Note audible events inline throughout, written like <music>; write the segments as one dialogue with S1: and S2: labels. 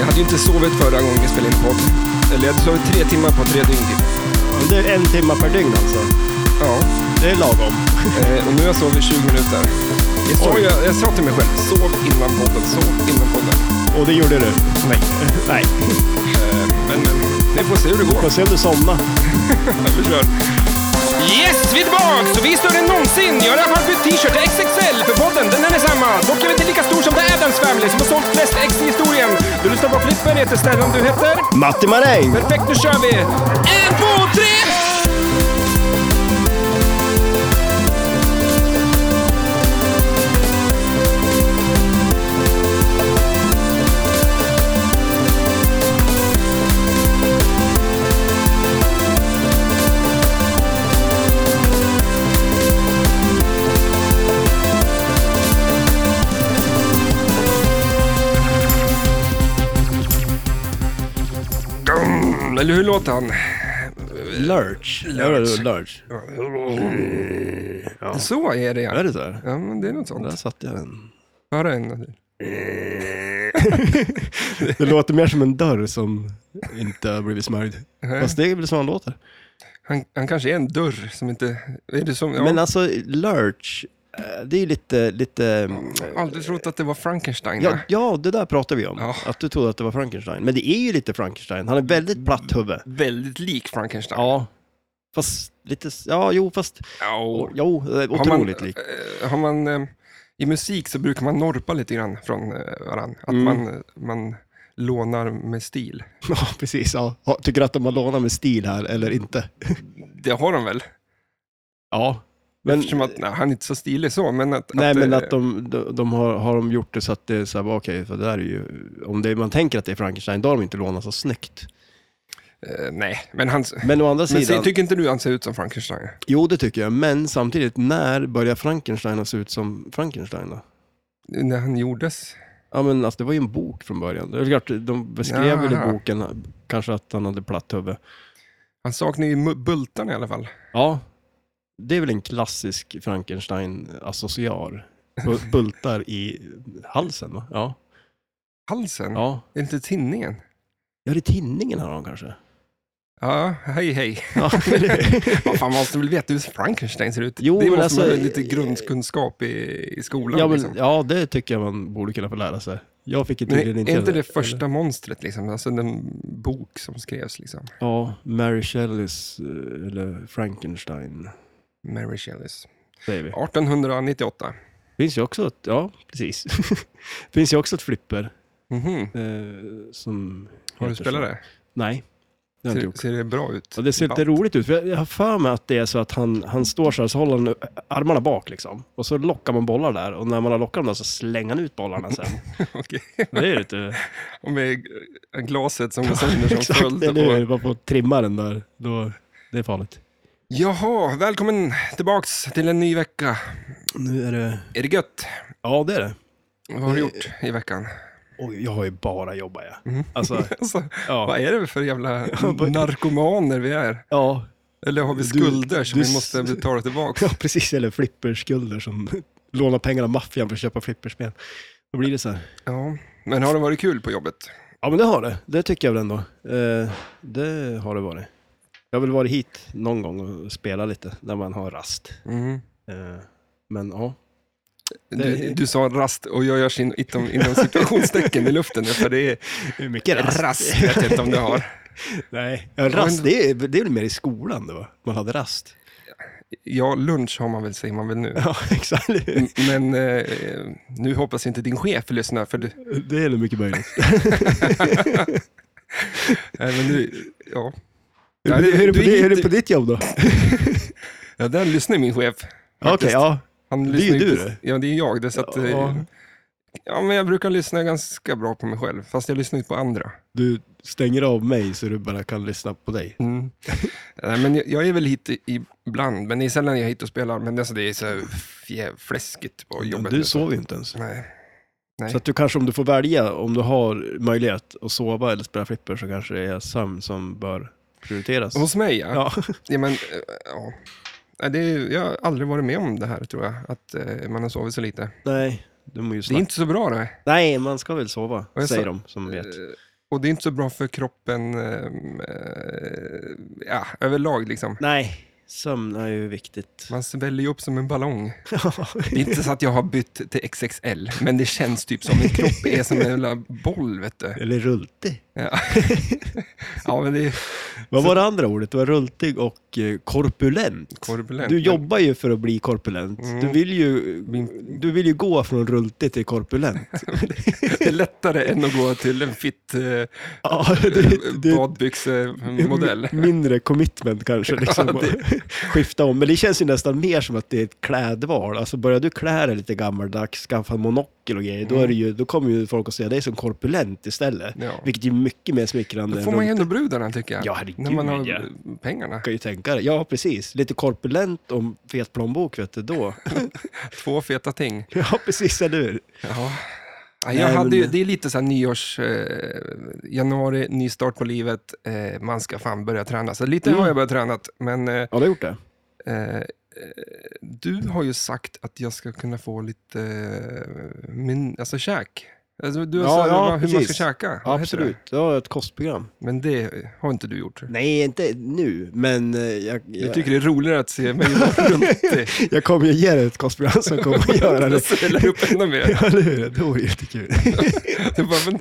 S1: Eh, ju inte sovit förra gången vi spelade in podd. Eller jag hade sovit tre timmar på tre dygn typ.
S2: Men det är en timme per dygn alltså.
S1: Ja.
S2: Det är lagom.
S1: Eh, och nu har jag sovit 20 minuter. Jag, sov,
S2: Oj.
S1: jag, jag sa till mig själv, sov innan podden, sov innan podden.
S2: Och det gjorde du? Nej. Nej.
S1: Eh, men, men vi får se hur det <laughs> går.
S2: Får se om du somnar.
S1: Vi kör. Yes, vi är tillbaks! Och vi är större än någonsin! Jag har i alla fall bytt t-shirt till XXL för podden. Den är densamma. Dock är vi inte lika stor som The Addams Family som har sålt flest ex i historien. Du lyssnar på Flipper, jag heter Stellan, du heter?
S2: Matti Maräng!
S1: Perfekt, nu kör vi! En, två, tre! Eller hur låter han?
S2: Lurch.
S1: Lurch.
S2: Lurch. Ja.
S1: Så är det ja.
S2: det så? här?
S1: Ja, men det är något sånt.
S2: satte jag den.
S1: Höra en.
S2: Det låter mer som en dörr som inte har blivit smörjd. Fast det är väl så han låter.
S1: Han, han kanske är en dörr som inte... Är det som, ja,
S2: Men alltså, lurch, eh, det är ju lite, lite...
S1: Mm. aldrig trott att det var Frankenstein.
S2: eh, Ja,
S1: va?
S2: ja, det där pratade vi om.
S1: Ja.
S2: Att du trodde att det var Frankenstein. Men det är ju lite Frankenstein. Han är väldigt platt huvud.
S1: Väldigt lik Frankenstein.
S2: Ja. Fast lite, ja, jo, fast,
S1: Ja, och-
S2: jo, eh,
S1: Har man-
S2: otroligt lik.
S1: Eh, har man, eh, I musik så brukar man norpa lite grann från eh, varann. Att
S2: Mm.
S1: man, man lånar med stil.
S2: Ja, <laughs> precis. Ja. Ja, Tycker du att de har lånat med stil här eller inte?
S1: Det har de väl?
S2: Ja. Men,
S1: Eftersom att, nej, han är inte så stilig så, men att...
S2: nej,
S1: att,
S2: men
S1: eh,
S2: att de, de, de har, har de gjort det så att det är så här, bara, okej, för det där är ju, om det, man tänker att det är Frankenstein, då har de inte lånat så snyggt.
S1: eh, nej, men han...
S2: Men å andra
S1: Men se,
S2: sidan,
S1: tycker inte du han ser ut som Frankenstein?
S2: jo det tycker jag, men samtidigt, när börjar Frankenstein att se ut som Frankenstein då?
S1: När han gjordes?
S2: Ja men alltså det var ju en bok från början. Det är klart, de beskrev väl
S1: Jaha.
S2: i boken kanske att han hade platt huvud.
S1: Han saknar ju mu- bultarna i alla fall.
S2: Ja, det är väl en klassisk Frankenstein-associar.
S1: <laughs>
S2: Bu- Bultar i halsen va? Ja.
S1: Halsen?
S2: ja.
S1: Är det inte tinningen?
S2: Ja, det är tinningen har de kanske.
S1: <laughs> Ja, hej hej.
S2: Ja,
S1: Vad fan, man måste väl veta hur Frankenstein ser ut?
S2: Jo,
S1: det
S2: men
S1: måste
S2: alltså-
S1: man väl lite grundkunskap i, i skolan.
S2: ja, men,
S1: liksom.
S2: ja, det tycker jag man borde kunna få lära sig. Jag fick ju
S1: Men
S2: tydligen
S1: är
S2: inte...
S1: inte det första monstret, liksom? alltså den bok som skrevs? Liksom.
S2: Ja, Mary Shelleys, eh, eller Frankenstein,
S1: Mary Shelleys.
S2: säger vi.
S1: 1898.
S2: Finns ju också ett, ja, precis. <laughs> Finns ju också ett flipper
S1: Mhm.
S2: eh, som...
S1: Har du
S2: heter
S1: spelat
S2: så.
S1: det?
S2: Nej, det har jag inte
S1: Ser,
S2: gjort.
S1: ser det bra ut?
S2: Ja, det ser lite roligt ut. för Jag jag har för mig att det är så att han, han står så här, så håller han armarna bak liksom. Och så lockar man bollar där. Och när man har lockat dem där så slänger han ut bollarna sen.
S1: <laughs> Okej.
S2: <laughs> Det är lite...
S1: Och med glaset
S2: <laughs>
S1: som rinner som
S2: Exakt,
S1: följd.
S2: eller
S1: På.
S2: hur? Bara på att trimma den där. Då, det är farligt.
S1: Jaha, välkommen tillbaks till en ny vecka.
S2: Nu är det...
S1: Är det gött?
S2: Ja, det är det.
S1: Vad
S2: Eh,
S1: har du gjort i veckan?
S2: Oj, jag har ju bara jobbat jag.
S1: Mm.
S2: <laughs> Alltså,
S1: Alltså,
S2: ja.
S1: vad är det för jävla
S2: <laughs> Ja, vad-
S1: narkomaner vi är?
S2: Ja,
S1: Eller har vi
S2: Du-
S1: skulder som
S2: du
S1: vi måste
S2: s-
S1: betala tillbaka?
S2: <laughs> ja precis. Eller flipperskulder som <laughs> lånar pengar av maffian för att köpa flipperspel. Då blir det så här.
S1: Ja. Men har det varit kul på jobbet?
S2: Ja, men det har det. Det tycker jag väl ändå. Eh, det har det varit. Jag har väl varit hit någon gång och spela lite när man har rast.
S1: Mm.
S2: Eh, men ja.
S1: Du,
S2: Det-
S1: du sa rast och jag gör sin, inom, inom situationstecken i luften nu, för det är
S2: Hur mycket
S1: rast vet jag inte om du har.
S2: <laughs> Nej. Ja, rast, det är, det är väl mer i skolan då? va? Man hade rast.
S1: Ja, lunch har man väl, säger man väl nu.
S2: <laughs> Ja, exakt.
S1: M- Men eh, nu hoppas inte din chef lyssnar, för du,
S2: Det är nog mycket möjligt.
S1: nej, men du, ja.
S2: Hur
S1: Ja,
S2: är det, hur är det, på,
S1: du
S2: di- hur är det
S1: hit-
S2: på ditt jobb då?
S1: Ja, där lyssnar min chef.
S2: Okej, ja.
S1: Han
S2: Det är
S1: lyssnar
S2: ju
S1: inte-
S2: du det.
S1: Ja, det är jag. Det, är så att, eh,
S2: Ja.
S1: ja, men jag brukar lyssna ganska bra på mig själv, fast jag lyssnar inte på andra.
S2: Du stänger av mig så du bara kan lyssna på dig. <laughs>
S1: Mm. Nej, men jag, jag är väl hit i- ibland, men det är sällan jag är hit och spelar. Men alltså, det är så här fjä- fläskigt på jobbet. nu,
S2: du
S1: så-
S2: sover ju inte ens.
S1: Nej. Nej.
S2: Så att du kanske om du får välja, om du har möjlighet att sova eller spela flipper så kanske det är sömn som bör prioriteras.
S1: Hos mig, ja. ja.
S2: Ja.
S1: men, eh, ja. Nej, Det är, jag har aldrig varit med om det här, tror jag. Att eh, man har sovit så lite.
S2: <laughs> Nej, du må ju
S1: Det är
S2: snacka.
S1: inte så bra det.
S2: Nej, man ska väl sova,
S1: Och jag
S2: säger
S1: sa-
S2: de som vet.
S1: Eh, Och det är inte så bra för kroppen ehm, eh, ja, överlag. Liksom.
S2: Nej, sömn är ju viktigt. <laughs>
S1: Man sväller ju upp som en ballong. Det är inte så att jag har bytt till XXL, men det känns typ som min kropp är som en jävla boll. Vet du.
S2: Eller rultig. <laughs>
S1: Ja. ja, men det är
S2: Vad var det andra ordet? Det var rultig och eh, korpulent.
S1: korpulent.
S2: Du
S1: Men-
S2: jobbar ju för att bli korpulent.
S1: Mm.
S2: Du, vill ju, du vill ju gå från rultig till korpulent.
S1: Det är lättare än att gå till en fit
S2: <laughs>
S1: eh,
S2: ja, det, det,
S1: badbyxemodell.
S2: Mm. Mindre commitment kanske, liksom,
S1: <laughs> Ja, det-
S2: att <laughs> skifta om. Men det känns ju nästan mer som att det är ett klädval. Alltså börjar du klä dig lite gammaldags, skaffa en monokel och grejer, då, är det ju, då kommer ju folk att se dig som korpulent istället.
S1: Mm. Ja.
S2: Vilket är mycket mer smickrande.
S1: Då
S2: än
S1: får man ju
S2: runt-
S1: ändå brudarna tycker jag.
S2: Ja, herregud,
S1: När man har
S2: ja.
S1: pengarna.
S2: kan ju tänka dig. Ja, precis. Lite korpulent om fet plånbok, vet du, då. <laughs>
S1: Två feta ting.
S2: ja, precis, eller hur?
S1: Ja. Ja,
S2: Nej,
S1: jag hade
S2: men-
S1: ju, det är lite så här nyårs... Eh, januari, ny start på livet. Eh, man ska fan börja träna. Så lite
S2: Mm.
S1: har jag börjat träna. Men eh,
S2: Har du gjort det?
S1: eh, du har ju sagt att jag ska kunna få lite... Eh, min, alltså käk. Alltså, du har
S2: Ja,
S1: sagt
S2: ja,
S1: hur man ska
S2: precis.
S1: käka. Vad heter det?
S2: Absolut. Jag har ett kostprogram.
S1: Men det har inte du gjort.
S2: Nej, inte nu, men eh, jag,
S1: Jag
S2: jag,
S1: tycker det är roligare att se mig
S2: <laughs>
S1: vara runt dig.
S2: jag kommer ju ge dig ett kostprogram som kommer
S1: <laughs>
S2: att göra det.
S1: Svälla upp ännu mer.
S2: <laughs> Ja, eller hur? Det vore jättekul.
S1: Det bara,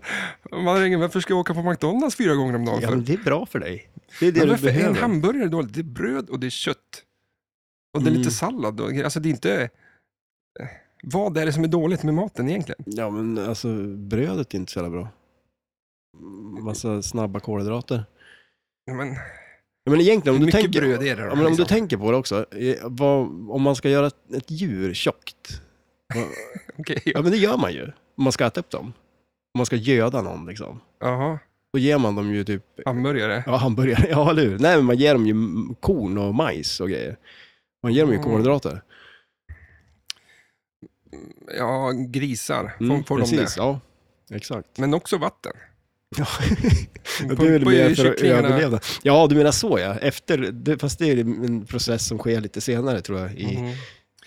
S1: men, man ringer, varför ska jag åka på McDonalds fyra gånger om dagen?
S2: Ja,
S1: För?
S2: men det är bra för dig. Det är det
S1: men
S2: du
S1: varför är en
S2: behöver.
S1: hamburgare dåligt? Det är bröd och det är kött. Och det är
S2: Mm.
S1: lite sallad. Och, grejer. alltså det är inte... eh, Vad är det som är dåligt med maten egentligen?
S2: Ja, men alltså brödet är inte så jävla bra. Massa snabba kolhydrater.
S1: Ja, Men,
S2: Ja, men egentligen,
S1: hur
S2: om du
S1: mycket
S2: tänker...
S1: bröd är det då?
S2: Ja, men om du
S1: liksom?
S2: tänker på det också, eh, vad, om man ska göra ett, ett djur tjockt, vad-
S1: Okej,
S2: ja men det gör man ju, om man ska äta upp dem. Om man ska göda någon liksom.
S1: jaha.
S2: Då ger man dem ju typ,
S1: Hamburgare.
S2: ja hamburgare, <laughs> ja eller hur? Nej men man ger dem ju m- korn och majs och grejer. Man ger dem ju
S1: Mm.
S2: kolhydrater.
S1: Ja, grisar. Får,
S2: Mm,
S1: får de
S2: precis,
S1: det?
S2: ja. Exakt.
S1: Men också vatten.
S2: Ja.
S1: De
S2: Ja, Det är väl
S1: pumpar ju
S2: mer för att
S1: kycklingarna-
S2: överleva. Ja, du menar så ja. Efter, det, fast det är en process som sker lite senare tror jag. I,
S1: Mhm.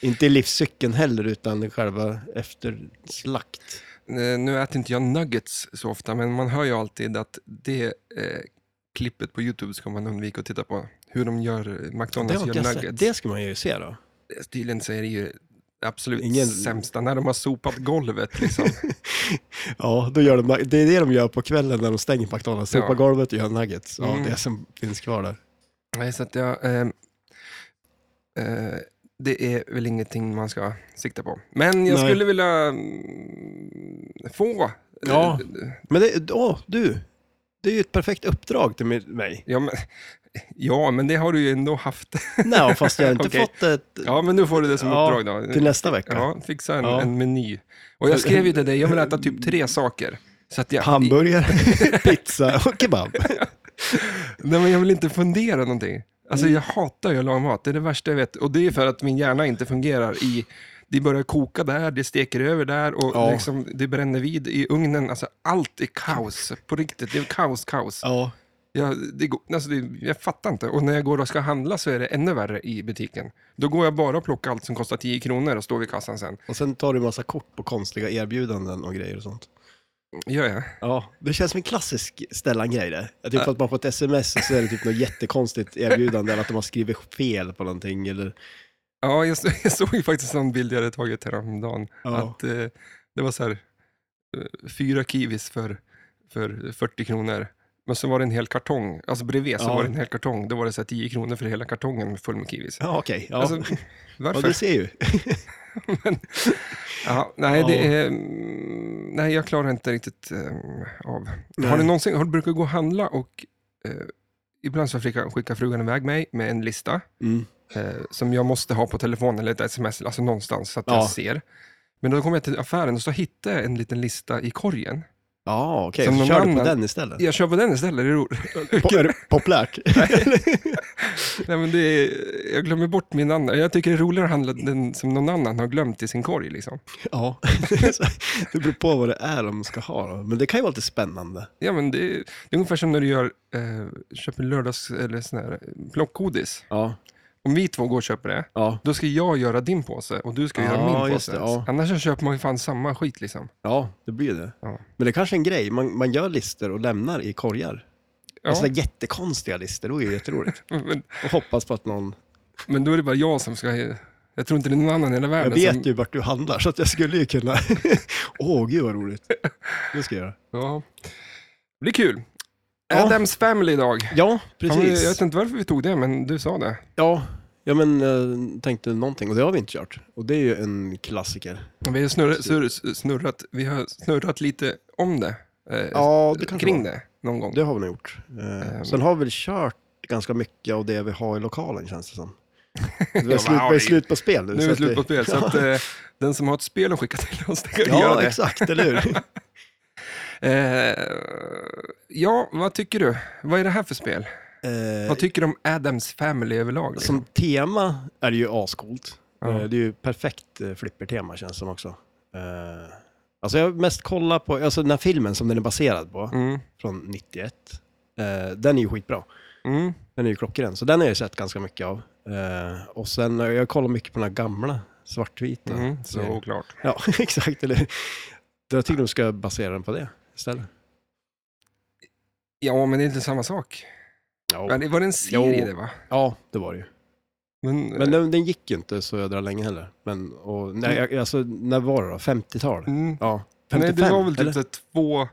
S2: Inte i livscykeln heller, utan i själva efter slakt.
S1: Eh, Nu äter inte jag nuggets så ofta, men man hör ju alltid att det eh, klippet på YouTube ska man undvika att titta på. Hur de gör eh,
S2: Det,
S1: McDonalds
S2: har inte
S1: gör
S2: jag
S1: nuggets.
S2: sett. det ska man ju se då.
S1: Tydligen så är det ju absolut
S2: Ingen-
S1: sämsta, när de har sopat golvet
S2: <laughs>
S1: liksom.
S2: Ja, då gör de, det är det de gör på kvällen när de stänger McDonalds.
S1: Ja.
S2: Sopa golvet och gör nuggets. Ja,
S1: Mm.
S2: det som finns kvar där.
S1: Nej, så att jag, eh, eh, det är väl ingenting man ska sikta på. Men jag
S2: Nej.
S1: skulle vilja mm, få... eh,
S2: Ja. Men det, åh, du. Det är ju ett perfekt uppdrag till mi- mig.
S1: Ja men, <laughs> ja, men det har du ju ändå haft. <laughs>
S2: Nej, fast <laughs> jag har inte
S1: Okej.
S2: fått ett
S1: Ja, men nu får du det som
S2: Ja,
S1: uppdrag då.
S2: till nästa vecka.
S1: Ja, fixa en,
S2: Ja.
S1: en meny. Och jag skrev ju till dig, jag vill äta typ tre saker. Så att jag,
S2: Hamburgare, <laughs> pizza och <laughs> kebab.
S1: Nej, men jag vill inte fundera någonting. Alltså jag
S2: Mm.
S1: hatar ju lagmat, det är det värsta jag vet. Och det är för att min hjärna inte fungerar i... Det börjar koka där, det steker över där och
S2: Ja.
S1: liksom, det bränner vid i ugnen. Alltså allt är kaos, på riktigt. Det är kaos, kaos.
S2: Ja.
S1: Jag, det går, alltså, det, jag fattar inte. Och när jag går och ska handla så är det ännu värre i butiken. Då går jag bara och plockar allt som kostar 10 kronor och står vid kassan sen.
S2: Och sen tar du massa kort på konstiga erbjudanden och grejer och sånt.
S1: Gör jag?
S2: Ja, det känns som en klassisk Stellan-grej det. Jag typ
S1: Ja.
S2: att man får ett sms och så är det typ något jättekonstigt erbjudande eller att de har skrivit fel på någonting eller...
S1: Ja, jag, så- <laughs> jag såg ju faktiskt en bild jag hade tagit häromdagen.
S2: Ja.
S1: Att, eh, det var så här, eh, fyra kiwis för, för 40 kronor. Men så var det en hel kartong, alltså bredvid så
S2: Ja.
S1: var det en hel kartong. Då var det så här 10 kronor för hela kartongen full med kiwis.
S2: Ja, okej. Ja.
S1: Alltså,
S2: ja,
S1: varför?
S2: du ser ju.
S1: ja, nej, det
S2: Ja.
S1: är, mm, nej, jag klarar inte riktigt ehm, av.
S2: Nej.
S1: Har du någonsin, har du brukat gå och handla och eh, ibland så skickar, skickar frugan iväg mig med en lista.
S2: Mm.
S1: eh, som jag måste ha på telefonen eller ett sms, alltså någonstans så att
S2: Ja.
S1: jag ser. Men då kom jag till affären och så hittade jag en liten lista i korgen.
S2: Ja, okej.
S1: Som
S2: Så
S1: någon
S2: Kör du på
S1: annan-
S2: den istället?
S1: Jag kör på den istället, det är roligt. <laughs>
S2: Po- är det populärt? <laughs>
S1: Nej, men det är, jag glömmer bort min andra. Jag tycker det är roligare att handla den som någon annan har glömt i sin korg. Liksom.
S2: ja. <laughs> det beror på vad det är de ska ha då. Men det kan ju vara lite spännande.
S1: Ja, men det, är, det är ungefär som när du gör, eh, köper lördags eller sån här, eh, plockgodis.
S2: Ja.
S1: om vi två går och köper det,
S2: Ja,
S1: då ska jag göra din påse och du ska göra
S2: Ja,
S1: min
S2: just
S1: påse.
S2: det, ja.
S1: Annars så köper man ju fan samma skit liksom.
S2: ja det blir det.
S1: Ja.
S2: Men det är kanske är en grej, man, man gör lister och lämnar i korgar.
S1: Ja,
S2: Sådana Alltså, jättekonstiga lister, det vore
S1: <laughs>
S2: ju jätteroligt.
S1: men,
S2: Och hoppas på att någon...
S1: men då är det bara jag som ska... Jag tror inte det är någon annan i hela
S2: Jag
S1: världen som...
S2: vet ju vart du handlar, så att jag skulle ju kunna... <laughs> Åh, gud vad roligt. Det ska jag göra.
S1: Ja. Det blir kul.
S2: Ja.
S1: Adams Family idag.
S2: Ja,
S1: Fan, Jag vet
S2: precis.
S1: inte varför vi tog det, men du sa det.
S2: Ja, ja men jag tänkte någonting och det har vi inte kört. Och det är ju en klassiker.
S1: Vi har snurrat, snurr- snurrat, vi har snurrat lite om det. Eh,
S2: Ja, det kanske
S1: kring
S2: det.
S1: det någon gång.
S2: Det har vi nog gjort. Eh,
S1: Ehm.
S2: Sen har vi väl kört ganska mycket av det vi har i lokalen känns
S1: <laughs>
S2: det som. Det
S1: Ja,
S2: är slut,
S1: men,
S2: det är
S1: ja,
S2: slut på spel nu.
S1: Nu är
S2: så
S1: det
S2: att
S1: slut på spel,
S2: <laughs>
S1: så att eh, den som har ett spel att skicka till oss, det kan göra
S2: Ja,
S1: det.
S2: exakt,
S1: <laughs>
S2: eller hur?
S1: Eh, ja, vad tycker du? Vad är det här för spel?
S2: Eh,
S1: Vad tycker du om Adams Family överlag? liksom?
S2: som tema är det ju ascoolt.
S1: Ja.
S2: Eh, Det är ju perfekt eh, flippertema känns det som också. Eh, Alltså jag har mest kollat på, alltså den här filmen som den är baserad på,
S1: Mm,
S2: från 91, eh, den är ju skitbra.
S1: mm,
S2: Den är ju klockren, så den har jag ju sett ganska mycket av. Eh, och sen har jag kollat mycket på den här gamla svartvita.
S1: mm, såklart.
S2: <laughs> Ja, exakt. Eller, jag tycker de ska basera den på det istället.
S1: Ja, men det är inte samma sak.
S2: Ja,
S1: Men det var en serie
S2: Jo.
S1: det va?
S2: ja det var det ju.
S1: Men, eh,
S2: Men den, den gick ju inte så jädra länge heller. Men, och, nej, jag- alltså, när var det då? 50-tal?
S1: mm,
S2: Ja, 55?
S1: nej, det var väl
S2: eller?
S1: typ så här två,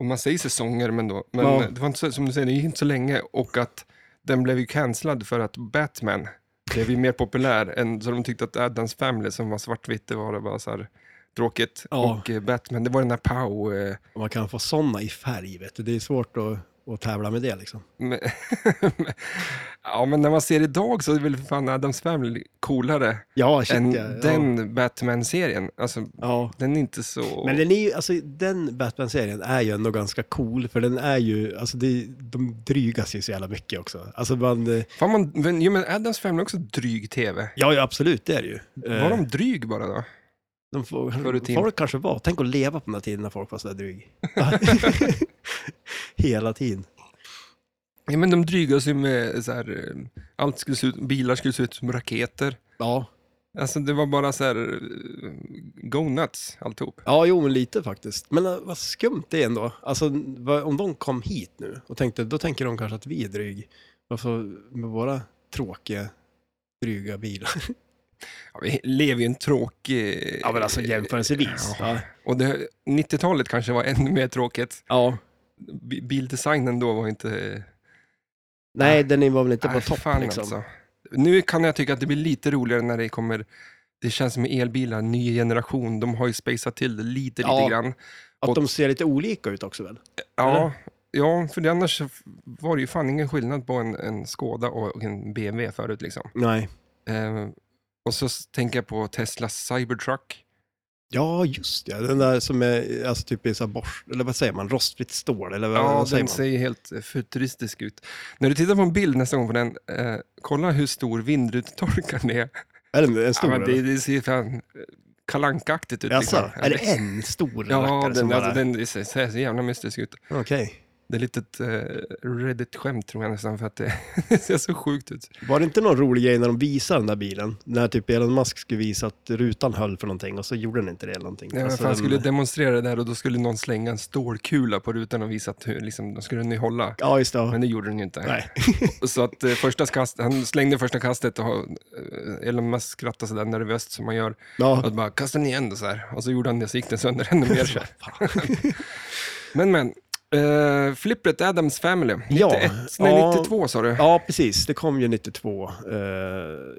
S1: om man säger säsonger, men då. Men
S2: Ja.
S1: det var inte så, som du säger, det gick inte så länge och att den blev ju cancellad för att Batman blev ju mer populär än så de tyckte att Addams Family som var svartvitt, det var det bara så här tråkigt.
S2: Ja.
S1: Och eh, Batman, det var den här Pow. Eh,
S2: Man kan få sådana i färg, vet du. Det är svårt att, att tävla med det liksom.
S1: Men- <laughs> ja, men när man ser idag så är väl för fan Adams Family coolare
S2: Ja, shit,
S1: än
S2: ja, ja.
S1: den Batman-serien. Alltså,
S2: Ja.
S1: den är inte så...
S2: Men den är ju, alltså den Batman-serien är ju ändå ganska cool, för den är ju, alltså det, de drygas ju så jävla mycket också. Alltså man, eh,
S1: Fan, man... men, jo, men Adams Family är också dryg tv.
S2: ja, ja absolut, det är det ju. Eh,
S1: Var de dryg bara då?
S2: De får,
S1: Förr i tiden.
S2: folk kanske var. Tänk att leva på den här tiden när folk var
S1: <laughs>
S2: sådär dryg. <laughs> Hela tiden.
S1: Ja, men de drygade sig med så här, eh, allt skulle se ut, bilar skulle se ut som raketer.
S2: Ja.
S1: Alltså det var bara så här, eh, go nuts alltihop.
S2: ja, jo men lite faktiskt. Men eh, vad skumt det är ändå. Alltså vad, om de kom hit nu och tänkte, då tänker de kanske att vi är dryg. Varför med våra tråkiga, dryga bilar?
S1: Ja, vi lever ju i en tråkig...
S2: Ja men alltså jämförelsevis. Ja.
S1: Och det, 90-talet kanske var ännu mer tråkigt.
S2: ja.
S1: Bi- Bildesignen då var inte...
S2: Nej, den var väl inte på
S1: Äh,
S2: topp
S1: fan
S2: liksom.
S1: alltså. Nu kan jag tycka att det blir lite roligare när det kommer... Det känns som elbilar, ny generation, de har ju spacat till det lite,
S2: Ja.
S1: lite grann.
S2: Att de ser lite olika ut också väl?
S1: Ja,
S2: Eller?
S1: ja, för det annars så var det ju fan ingen skillnad på en, en Skoda och och en BMW förut. Liksom.
S2: Nej.
S1: Eh, och så s- tänker jag på Teslas Cybertruck.
S2: Ja, just det. Den där som är alltså, typ i så här borst, eller vad säger man, rostfritt stål? Eller vad,
S1: Ja,
S2: vad säger
S1: den
S2: man?
S1: ser helt eh, futuristisk ut. När du tittar på en bild nästa gång på den, eh, kolla hur stor vindrutetorkaren är.
S2: Är det en stor?
S1: Ja, men det,
S2: eller?
S1: det ser fan eh, kalankaktigt ut.
S2: Jaså,
S1: liksom.
S2: är det en stor
S1: Ja,
S2: rackare som
S1: den,
S2: bara...
S1: alltså, den ser, ser så jävla mystisk ut.
S2: Okej.
S1: Det är lite ett eh, Reddit-skämt tror jag nästan, för att det, <laughs> det ser så sjukt ut.
S2: Var det inte någon rolig grej när de visade den där bilen? När typ Elon Musk skulle visa att rutan höll för någonting och så gjorde den inte det eller någonting.
S1: Nej, men
S2: Alltså,
S1: fan,
S2: den-
S1: skulle demonstrera det där och då skulle någon slänga en stålkula på rutan och visa att hur, liksom, då skulle den ju hålla.
S2: Ja, just det. ja.
S1: Men det gjorde den ju inte. <laughs>
S2: Nej.
S1: Så att eh, första kast, han slängde första kastet och eh, Elon Musk skrattade sådär nervöst som man gör.
S2: Ja.
S1: Och bara, kasta den igen då så här. Och så gjorde han det, så gick den sönder
S2: <laughs>
S1: ännu mer. men, men. Uh, flippret Adams Family, 91,
S2: Ja.
S1: nej,
S2: Ja.
S1: 92 sa du.
S2: ja, precis. Det kom ju 92. Eh,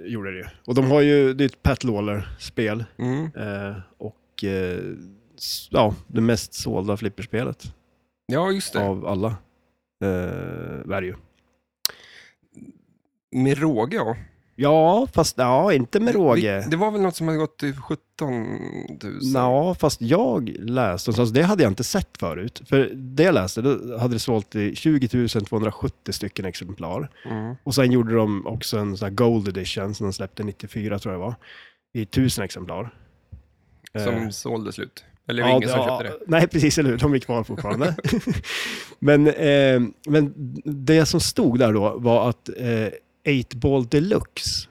S2: gjorde det ju. Och de har ju, det är ett Pat Lawler-spel.
S1: Mm.
S2: Eh, och eh, s- ja, det mest sålda flipperspelet
S1: Ja, just det.
S2: av alla. Eh, är det ju.
S1: Med råge, ja.
S2: Ja, fast ja, inte med råge.
S1: Det, det var väl något som hade gått till 17 000?
S2: Ja, fast jag läste, alltså det hade jag inte sett förut. För det jag läste, då hade det sålt i 20 270 stycken exemplar.
S1: Mm.
S2: Och sen gjorde de också en sån här Gold Edition som de släppte 94 tror jag det var. I 1000 exemplar.
S1: Som
S2: Eh,
S1: sålde slut. Eller det var ingen som köpte det.
S2: Nej, precis, eller hur? De är kvar fortfarande. <laughs> men, eh, men det som stod där då var att eh, 8-Ball Deluxe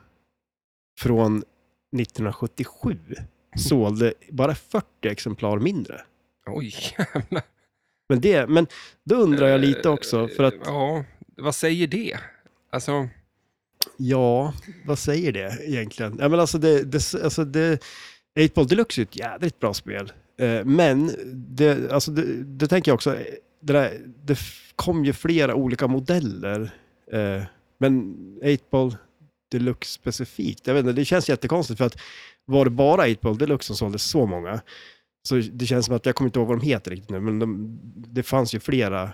S2: från 1977 sålde bara 40 exemplar mindre.
S1: Oj.
S2: Men, det, men då undrar jag lite också, för att
S1: Eh, Ja, vad säger det? Alltså,
S2: ja, vad säger det egentligen? Ja, men alltså det, det, alltså det, 8-Ball Deluxe är ett jädrigt bra spel. Eh, Men det, alltså det, det tänker jag också, det, där, det f- kom ju flera olika modeller. eh, Men 8-Ball Deluxe specifikt, jag vet inte, det känns jättekonstigt för att var det bara 8-Ball Deluxe som sålde så många, så det känns som att, jag kommer inte ihåg vad de heter riktigt nu, men de, det fanns ju flera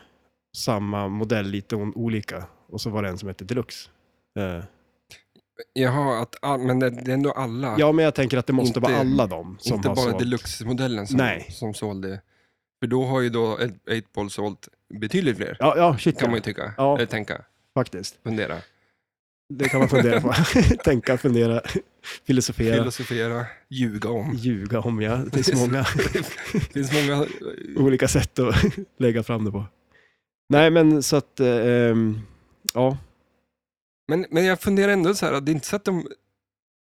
S2: samma modell, lite on- olika. Och så var det en som hette Deluxe. Eh,
S1: jaha, att all, men det, det är ändå alla.
S2: Ja, men jag tänker att det måste
S1: Inte-
S2: vara alla de som
S1: inte
S2: har
S1: bara
S2: sålt.
S1: deluxe-modellen som,
S2: Nej.
S1: som sålde. För då har ju då 8-Ball sålt betydligt fler,
S2: Ja, ja, shit
S1: kan
S2: ja,
S1: man ju tycka.
S2: Ja.
S1: Eller tänka,
S2: faktiskt.
S1: fundera,
S2: Det kan man
S1: <laughs>
S2: fundera på. <laughs> Tänka, fundera, filosofera,
S1: filosofera, ljuga om. <laughs>
S2: ljuga om ja. Det finns många
S1: Det finns många...
S2: olika sätt att <laughs> lägga fram det på. Nej, men så att, eh, ehm, ja,
S1: Men, men jag funderar ändå så här, att det är inte så att de,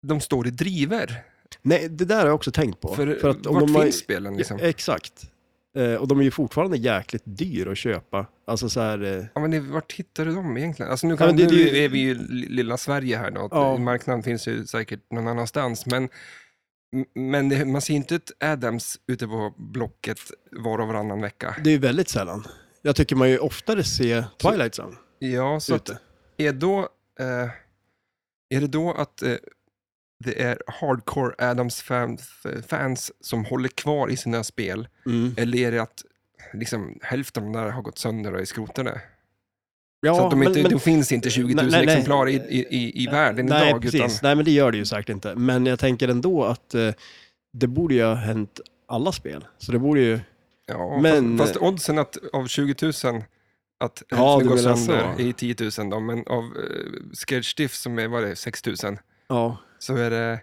S1: de står i driver.
S2: nej, det där har jag också tänkt på.
S1: För,
S2: att
S1: vart
S2: har-
S1: finns spelen liksom?
S2: Ja, exakt. Eh, och de är ju fortfarande jäkligt dyra att köpa. Alltså så här, eh,
S1: Ja, men det, vart hittar du dem egentligen? Alltså nu,
S2: Ja,
S1: kan,
S2: men det-
S1: nu
S2: det-
S1: är vi ju i lilla Sverige här då.
S2: Ja.
S1: Ja. Marknaden finns ju säkert någon annanstans. Men, m- men det, man ser ju inte ett Adams ute på Blocket var och varannan vecka.
S2: det är ju väldigt sällan. Jag tycker man ju oftare ser Twilight Zone
S1: Ja, så att,
S2: ute.
S1: är, då, eh, är det då att eh, det är hardcore Adams fan, f- fans som håller kvar i sina spel?
S2: Mm.
S1: Eller är det att liksom, hälften av de där har gått sönder och är skrotade?
S2: Ja,
S1: så att de
S2: men-
S1: inte,
S2: men-
S1: då finns inte 20 000
S2: Nej, nej, nej.
S1: exemplar i, i, i, i världen
S2: Nej,
S1: idag.
S2: precis.
S1: Utan,
S2: Nej, men det gör det ju säkert inte. Men jag tänker ändå att eh, det borde ju ha hänt alla spel. Så det borde ju...
S1: Ja,
S2: Men-
S1: men... fast, fast oddsen att av 20 000 att
S2: Ja,
S1: hälften går
S2: du menar
S1: sönder
S2: så.
S1: är 10 000 då, men av uh, Scaredstift som är, vad är det, 6 000,
S2: Ja.
S1: så är det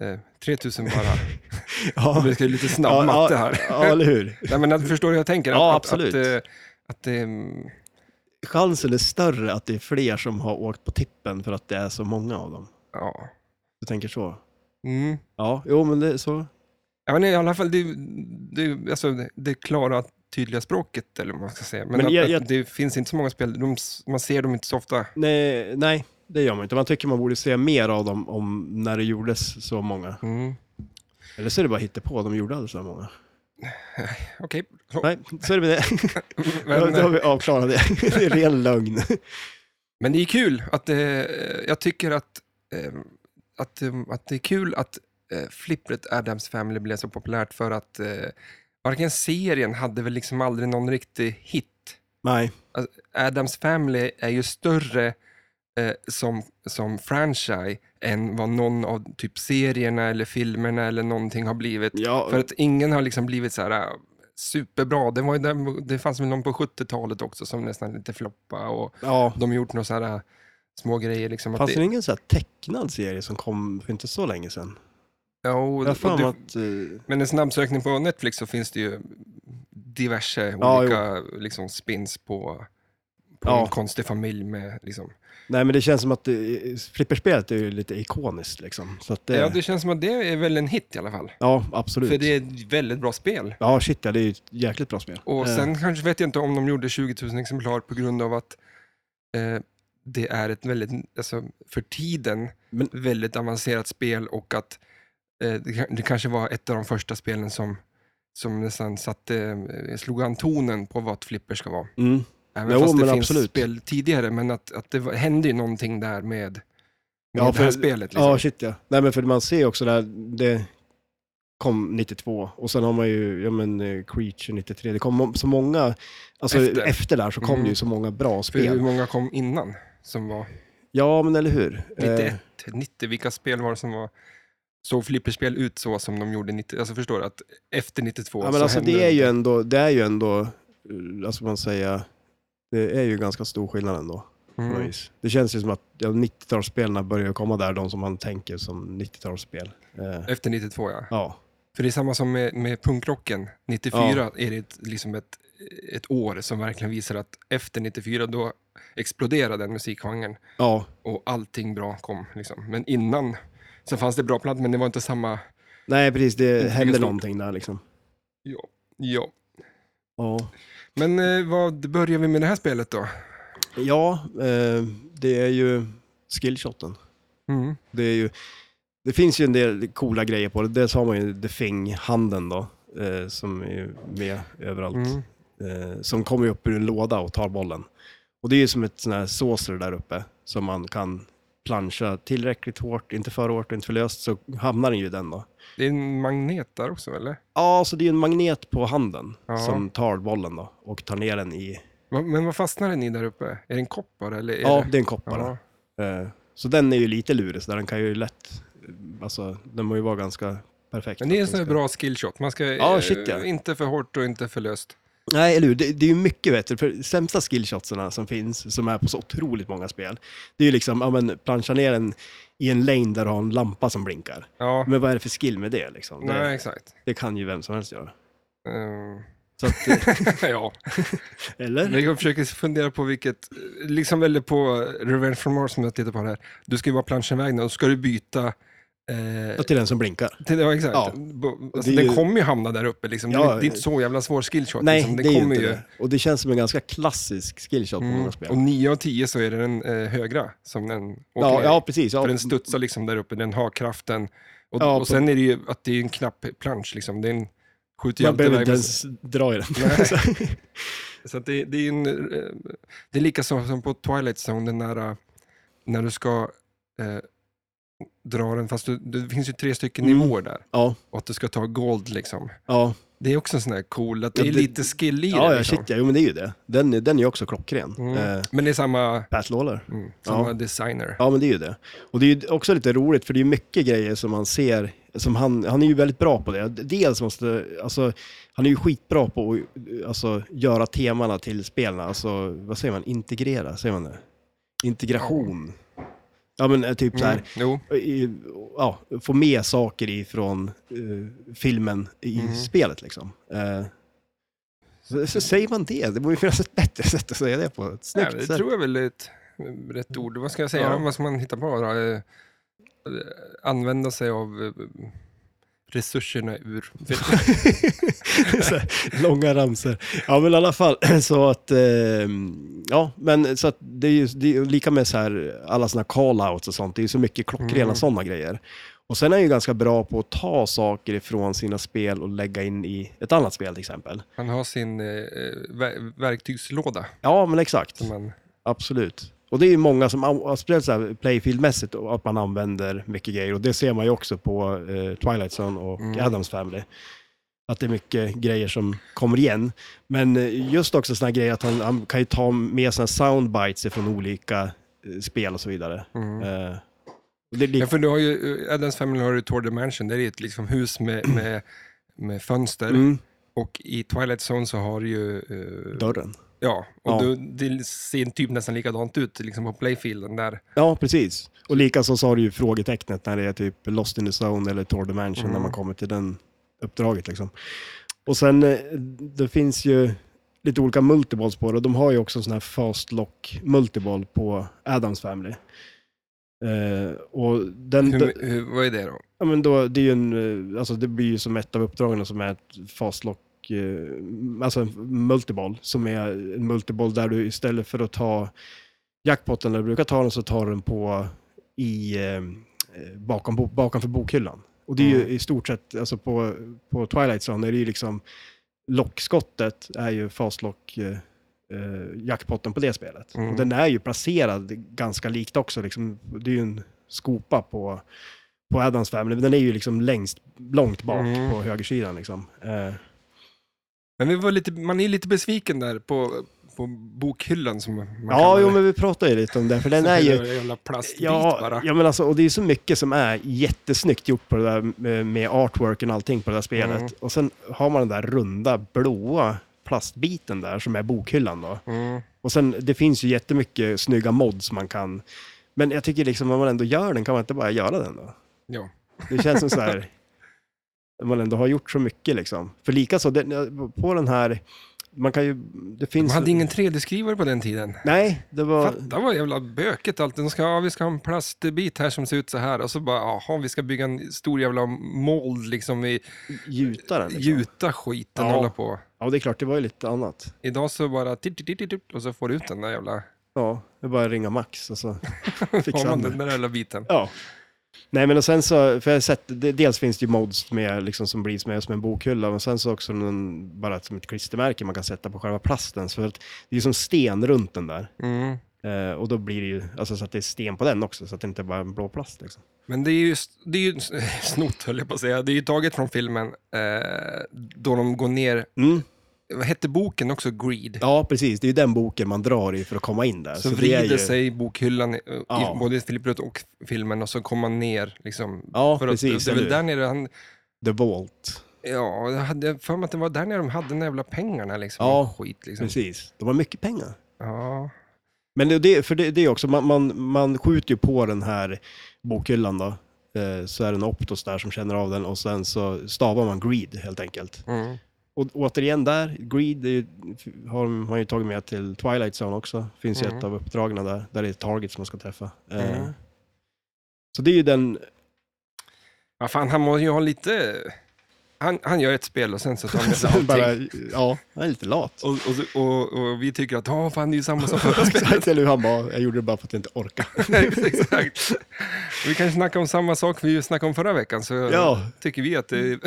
S1: eh, 3 000 bara.
S2: <laughs> Ja,
S1: Vi ska ju lite snabb matte här.
S2: Ja, ja, eller hur?
S1: Nej, men att, förstår du hur jag tänker?
S2: Ja,
S1: att,
S2: absolut.
S1: Att, eh, att, det, mm,
S2: <laughs> Chansen är större att det är fler som har åkt på tippen för att det är så många av dem.
S1: ja.
S2: Du tänker så?
S1: Mm.
S2: Ja, jo men det är så.
S1: Ja, men i alla fall, det, det, alltså, det klara, tydliga språket, eller vad man ska säga. Men,
S2: Men
S1: att,
S2: jag-
S1: att
S2: jag-
S1: det finns inte så många spel, de, s- man ser dem inte så ofta.
S2: Nej, nej, det gör man inte. Man tycker man borde se mer av dem om när det gjordes så många.
S1: Mm.
S2: Eller så är det bara hittepå, de gjorde aldrig så många. <laughs>
S1: Okej,
S2: Nej, så är det med <laughs> det.
S1: men,
S2: <laughs> Då har vi avklarat det. <laughs> Det är ren lögn.
S1: men det är kul att eh, jag tycker att, eh, att, eh, att det är kul att eh, flippret Adams Family blev så populärt för att eh, varken serien hade väl liksom aldrig någon riktig hit.
S2: Nej,
S1: Adams Family är ju större eh, som, som franchise än vad någon av typ serierna eller filmerna eller någonting har blivit.
S2: ja.
S1: För att ingen har liksom blivit så här äh, superbra. Det, var ju den, det fanns väl någon på 70-talet också som nästan lite floppa och
S2: ja.
S1: de har gjort några så här äh, små grejer. Liksom att
S2: Fanns det
S1: det,
S2: ingen så här tecknad serie som kom för inte så länge sedan?
S1: ja, och,
S2: Jag har för
S1: och
S2: mig
S1: det,
S2: att... eh,
S1: men en snabbsökning på Netflix så finns det ju diverse
S2: Ja,
S1: olika liksom, spins på, på
S2: Ja.
S1: en konstig familj med liksom,
S2: nej, men det känns som att uh, flipperspelet är ju lite ikoniskt liksom. Så att det,
S1: Ja, det känns som att det är väl en hit i alla fall.
S2: ja, absolut.
S1: För det är ett väldigt bra spel.
S2: Ja, shit ja, det är ju ett jäkligt bra spel.
S1: Och
S2: Eh,
S1: sen kanske vet jag inte om de gjorde 20 000 exemplar på grund av att eh, det är ett väldigt, alltså för tiden,
S2: Men-
S1: väldigt avancerat spel och att eh, det, kan- det kanske var ett av de första spelen som, som nästan satte, eh, slog an tonen på vad ett flipper ska vara.
S2: mm.
S1: Även
S2: Jo,
S1: fast det
S2: men
S1: finns
S2: absolut.
S1: spel tidigare, men att, att det var, hände ju någonting där med, med
S2: Ja,
S1: det här
S2: för-
S1: spelet. Liksom.
S2: Ja, shit ja. Nej, men för man ser ju också där, det kom 92 och sen har man ju, ja men eh, Creature 93. Det kom må- så många, alltså efter,
S1: Efter.
S2: där så kom
S1: Mm.
S2: det ju så många bra
S1: för hur
S2: spel.
S1: många kom innan som var
S2: Ja, men eller hur? Eh,
S1: 91, 90, vilka spel var det som var... Såg flipperspel ut så som de gjorde 90, alltså förstår du att efter 92
S2: Ja,
S1: så
S2: men alltså
S1: hände
S2: det är ju
S1: någonting.
S2: ändå, det är ju ändå, eh, alltså man säga, det är ju ganska stor skillnad ändå. på något
S1: Mm.
S2: vis. Det känns ju som att ja, 90-talsspelen börjar komma där, de som man tänker som 90-talsspel. Eh,
S1: Efter 92 ja.
S2: ja,
S1: För det är samma som med, med punkrocken. 94 är det ett, liksom ett, ett år som verkligen visar att efter 94 då exploderade den musikgenren.
S2: Ja,
S1: Och allting bra kom. Liksom. Men innan, sen fanns det bra plattor men det var inte samma...
S2: nej precis, det
S1: lika
S2: hände
S1: stort.
S2: någonting där liksom.
S1: Ja. ja.
S2: Ja,
S1: Men eh, vad börjar vi med det här spelet då?
S2: ja eh, det är ju skillshoten.
S1: Mm.
S2: Det, är ju, det finns ju en del coola grejer på det. Dels har man ju The Thing-handen då, eh, som är med överallt.
S1: Mm.
S2: Eh, som kommer upp ur en låda och tar bollen. Och det är ju som ett sån här saucer där uppe, som man kan plancha tillräckligt hårt, inte för hårt, inte för löst, så hamnar den ju i den då.
S1: Det är en magnet där också eller?
S2: Ja, så det är ju en magnet på handen
S1: Ja.
S2: som tar bollen då och tar ner den i...
S1: Va- Men vad fastnar den i där uppe? Är det en kopp bara? Eller är
S2: Ja,
S1: det...
S2: det är en kopp bara.
S1: Ja.
S2: Eh, Så den är ju lite lurig, så där den kan ju lätt... Alltså, den må ju vara ganska perfekt.
S1: Men det är en
S2: att den
S1: sån här
S2: ska-
S1: bra skillshot. Man ska eh,
S2: Ja, shit, ja.
S1: inte för hårt och inte för löst.
S2: Nej, eller hur? Det, det är ju mycket vet du, för sämsta skillshotsarna som finns, som är på så otroligt många spel, det är ju liksom, ja men plancha ner en i en lane där du har en lampa som blinkar.
S1: Ja,
S2: Men vad är det för skill med det liksom?
S1: nej
S2: Det,
S1: exakt.
S2: det kan ju vem som helst göra.
S1: Ehm,
S2: Så att,
S1: <laughs>
S2: eh,
S1: ja,
S2: eller?
S1: jag försöker fundera på vilket, liksom väldigt på Revenge from Mars som jag tittar på här. Du ska ju bara plancha iväg den och så ska du byta eh,
S2: Ja, till den som blinkar.
S1: till, ja, exakt.
S2: Ja.
S1: Bo-
S2: Det
S1: Alltså,
S2: är
S1: den
S2: ju-
S1: kommer ju hamna där uppe, liksom.
S2: Ja,
S1: det, det är inte så jävla svår skillshot.
S2: Nej,
S1: liksom. Den
S2: det är ju
S1: kommer
S2: inte det. Och det känns som en ganska klassisk skillshot på
S1: Mm.
S2: många spel.
S1: Och 9 av 10 så är det den eh, högra som den åker
S2: Ja,
S1: ner.
S2: ja, precis. Ja,
S1: För den studsar liksom där uppe, den har kraften. Och,
S2: Ja, på-
S1: och sen är det ju att det är en knapp plansch liksom. Den skjuter ju
S2: man
S1: alltid
S2: behöver
S1: iväg.
S2: inte
S1: men-
S2: ens dra i den. <laughs>
S1: Nej. Så att det, det är ju en... eh, Det är lika så som på Twilight Zone, den där eh, när du ska eh, dra den, fast du, det finns ju tre stycken
S2: Mm.
S1: nivåer där.
S2: Ja,
S1: Och att du ska ta gold liksom.
S2: ja.
S1: Det är också en sån här cool, att det
S2: Ja,
S1: är
S2: det-
S1: lite skill i
S2: Ja,
S1: det.
S2: ja,
S1: Liksom.
S2: shit ja. Jo, men det är ju det. Den, är- den är ju också klockren.
S1: Mm.
S2: Eh,
S1: Men det är samma,
S2: Pat Lawler.
S1: mm, samma designer.
S2: Ja, men det är ju det. Och det är ju också lite roligt, för det är ju mycket grejer som man ser, som han, han är ju väldigt bra på det. Dels måste, alltså, han är ju skitbra på att alltså, göra temana till spelen, alltså, vad säger man, integrera, säger man det? Integration. Ja, men eh, typ så här,
S1: Mm, jo.
S2: i- ja, få med saker ifrån eh, filmen i
S1: Mm.
S2: spelet liksom. Eh, så, så säger man det, det borde ju <laughs> finnas ett bättre sätt att säga det på, ett
S1: Ja,
S2: snyggt
S1: det
S2: sätt.
S1: tror jag väl är ett eh, rätt ord. Vad ska jag säga?
S2: Ja.
S1: Vad ska man hitta på? Då? Eh, eh, Använda sig av eh, resurserna ur...
S2: <laughs> Så här, Långa ramsor. Ja, men i alla fall <clears throat> så att, eh, ja, men så att det är ju det är ju lika med så här, alla såna här call-outs och sånt, det är ju så mycket klockrena
S1: Mm.
S2: sådana grejer. Och sen är han ju ganska bra på att ta saker ifrån sina spel och lägga in i ett annat spel till exempel.
S1: Han har sin eh, ver- verktygslåda.
S2: Ja, men exakt.
S1: Som man,
S2: Absolut. Och det är ju många som, an- speciellt så här playfieldmässigt, och att man använder mycket grejer. Och det ser man ju också på eh, Twilight Zone och
S1: Mm.
S2: Adams Family. Att det är mycket grejer som kommer igen. Men eh, just också sådana grejer att han, han kan ju ta med sådana soundbites från olika eh, spel och så vidare.
S1: mm.
S2: Eh, och det är
S1: ja,
S2: lik-
S1: för du har ju, eh, Addams Family har ju Tour Dimension, där är ett liksom hus med, med, med fönster.
S2: mm,
S1: Och i Twilight Zone så har du ju... eh,
S2: dörren.
S1: ja, och
S2: Ja.
S1: Du, det ser typ nästan likadant ut liksom på playfielden där.
S2: Ja, precis. Och likaså så har du ju frågetecknet när det är typ Lost in the Zone eller Tour Dimension
S1: Mm.
S2: när man kommer till den uppdraget liksom. Och sen, eh, det finns ju lite olika multiballs på det och de har ju också en sån här fast lock multiball på Adams Family. Eh, och den,
S1: Hur, hur, vad är det då?
S2: ja, men då, det, är ju en, eh, alltså det blir ju som ett av uppdragen som är ett fastlock, eh, alltså en multiball, som är en multiball där du istället för att ta jackpotten där du brukar ta den så tar du den på i, eh, eh, bakom, bo- bakom för bokhyllan. Och det är ju
S1: Mm.
S2: i stort sett, alltså på, på Twilight Zone är det ju liksom lockskottet är ju fastlock eh, eh, jackpotten på det spelet.
S1: Mm.
S2: Och den är ju placerad ganska likt också, liksom, det är ju en skopa på på Adams Family, men den är ju liksom längst, långt bak
S1: Mm.
S2: på högersidan liksom. Eh,
S1: Men vi var lite, man är lite besviken där på, på bokhyllan som man
S2: ja, jo, men vi pratade ju lite om det, för den
S1: <laughs>
S2: är ju...
S1: Jävla plastbit
S2: Ja,
S1: bara.
S2: ja, men alltså, och det är så mycket som är jättesnyggt gjort på det där med- med artworken och allting på det där spelet.
S1: Mm.
S2: Och sen har man den där runda, blåa plastbiten där som är bokhyllan då.
S1: Mm.
S2: Och sen, det finns ju jättemycket snygga mods man kan... Men jag tycker liksom, om man ändå gör den, kan man inte bara göra den då?
S1: Ja.
S2: Det känns som så här, man ändå har gjort så mycket liksom. För likaså, den- på den här man kan ju, det
S1: Man
S2: finns...
S1: hade ingen 3D-skrivare på den tiden.
S2: Nej, det var...
S1: Fatta vad jävla böket allt. De ska, ja, vi ska ha en plastbit här som ser ut så här. Och så bara, jaha, vi ska bygga en stor jävla mold liksom i
S2: Gjuta den. Liksom.
S1: gjuta skiten
S2: Ja.
S1: och hålla på.
S2: Ja, det är klart, det var ju lite annat.
S1: Idag så bara titt, titt, titt, titt, titt, och så får du ut den där jävla,
S2: Ja, det är bara att ringa Max och så
S1: <laughs> har
S2: fixar
S1: man
S2: han det.
S1: den där jävla biten.
S2: Ja. Nej men och sen så, för jag har sett, det- dels finns det ju mods med, liksom, som blir med som en bokhylla, men sen så också någon, bara som ett klistermärke man kan sätta på själva plasten. Så att det är ju som sten runt den där.
S1: Mm.
S2: Eh, och då blir det ju, alltså så att det är sten på den också, så att det inte bara är en blå plast liksom.
S1: Men det är ju, det är ju <laughs> snott höll jag på att säga. Det är ju taget från filmen eh, då de går ner,
S2: Mm.
S1: vad hette boken också, Greed?
S2: Ja, precis. Det är ju den boken man drar i för att komma in där.
S1: Så,
S2: det är
S1: vrider sig bokhyllan, i,
S2: Ja.
S1: i, både i Philip Rutt och filmen, och så kommer man ner. Liksom,
S2: Ja,
S1: för att,
S2: precis.
S1: det är väl
S2: eller
S1: där
S2: hur?
S1: nere han,
S2: The Vault.
S1: ja, jag hade för mig att det var där nere de hade de jävla pengarna liksom.
S2: Ja,
S1: och skit liksom.
S2: Precis. De har mycket pengar.
S1: Ja.
S2: Men det- det, för det, det är också, man, man, man skjuter ju på den här bokhyllan då. Eh, så är det en Optos där som känner av den och sen så stavar man greed helt enkelt.
S1: Mm.
S2: Och återigen där, greed det är, ju- har man ju tagit med till Twilight Zone också. Finns ju
S1: Mm.
S2: ett av uppdragen där, där det är targets man ska träffa. Eh,
S1: Mm.
S2: Så det är ju den,
S1: Ja, fan, han måste ju ha lite... Han, han gör ett spel och sen så tar han med sig allting.
S2: <laughs> bara, ja, han är lite lat.
S1: Och, och, så- och, och vi tycker att, ja, fan, det är ju samma
S2: <laughs>
S1: som förra spelet.
S2: Exakt, eller hur han bara, jag gjorde det bara för att jag inte orkar.
S1: <laughs> Exakt. Vi kan ju snacka om samma sak vi snackade om förra veckan, så
S2: Ja. Mm.
S1: tycker vi att det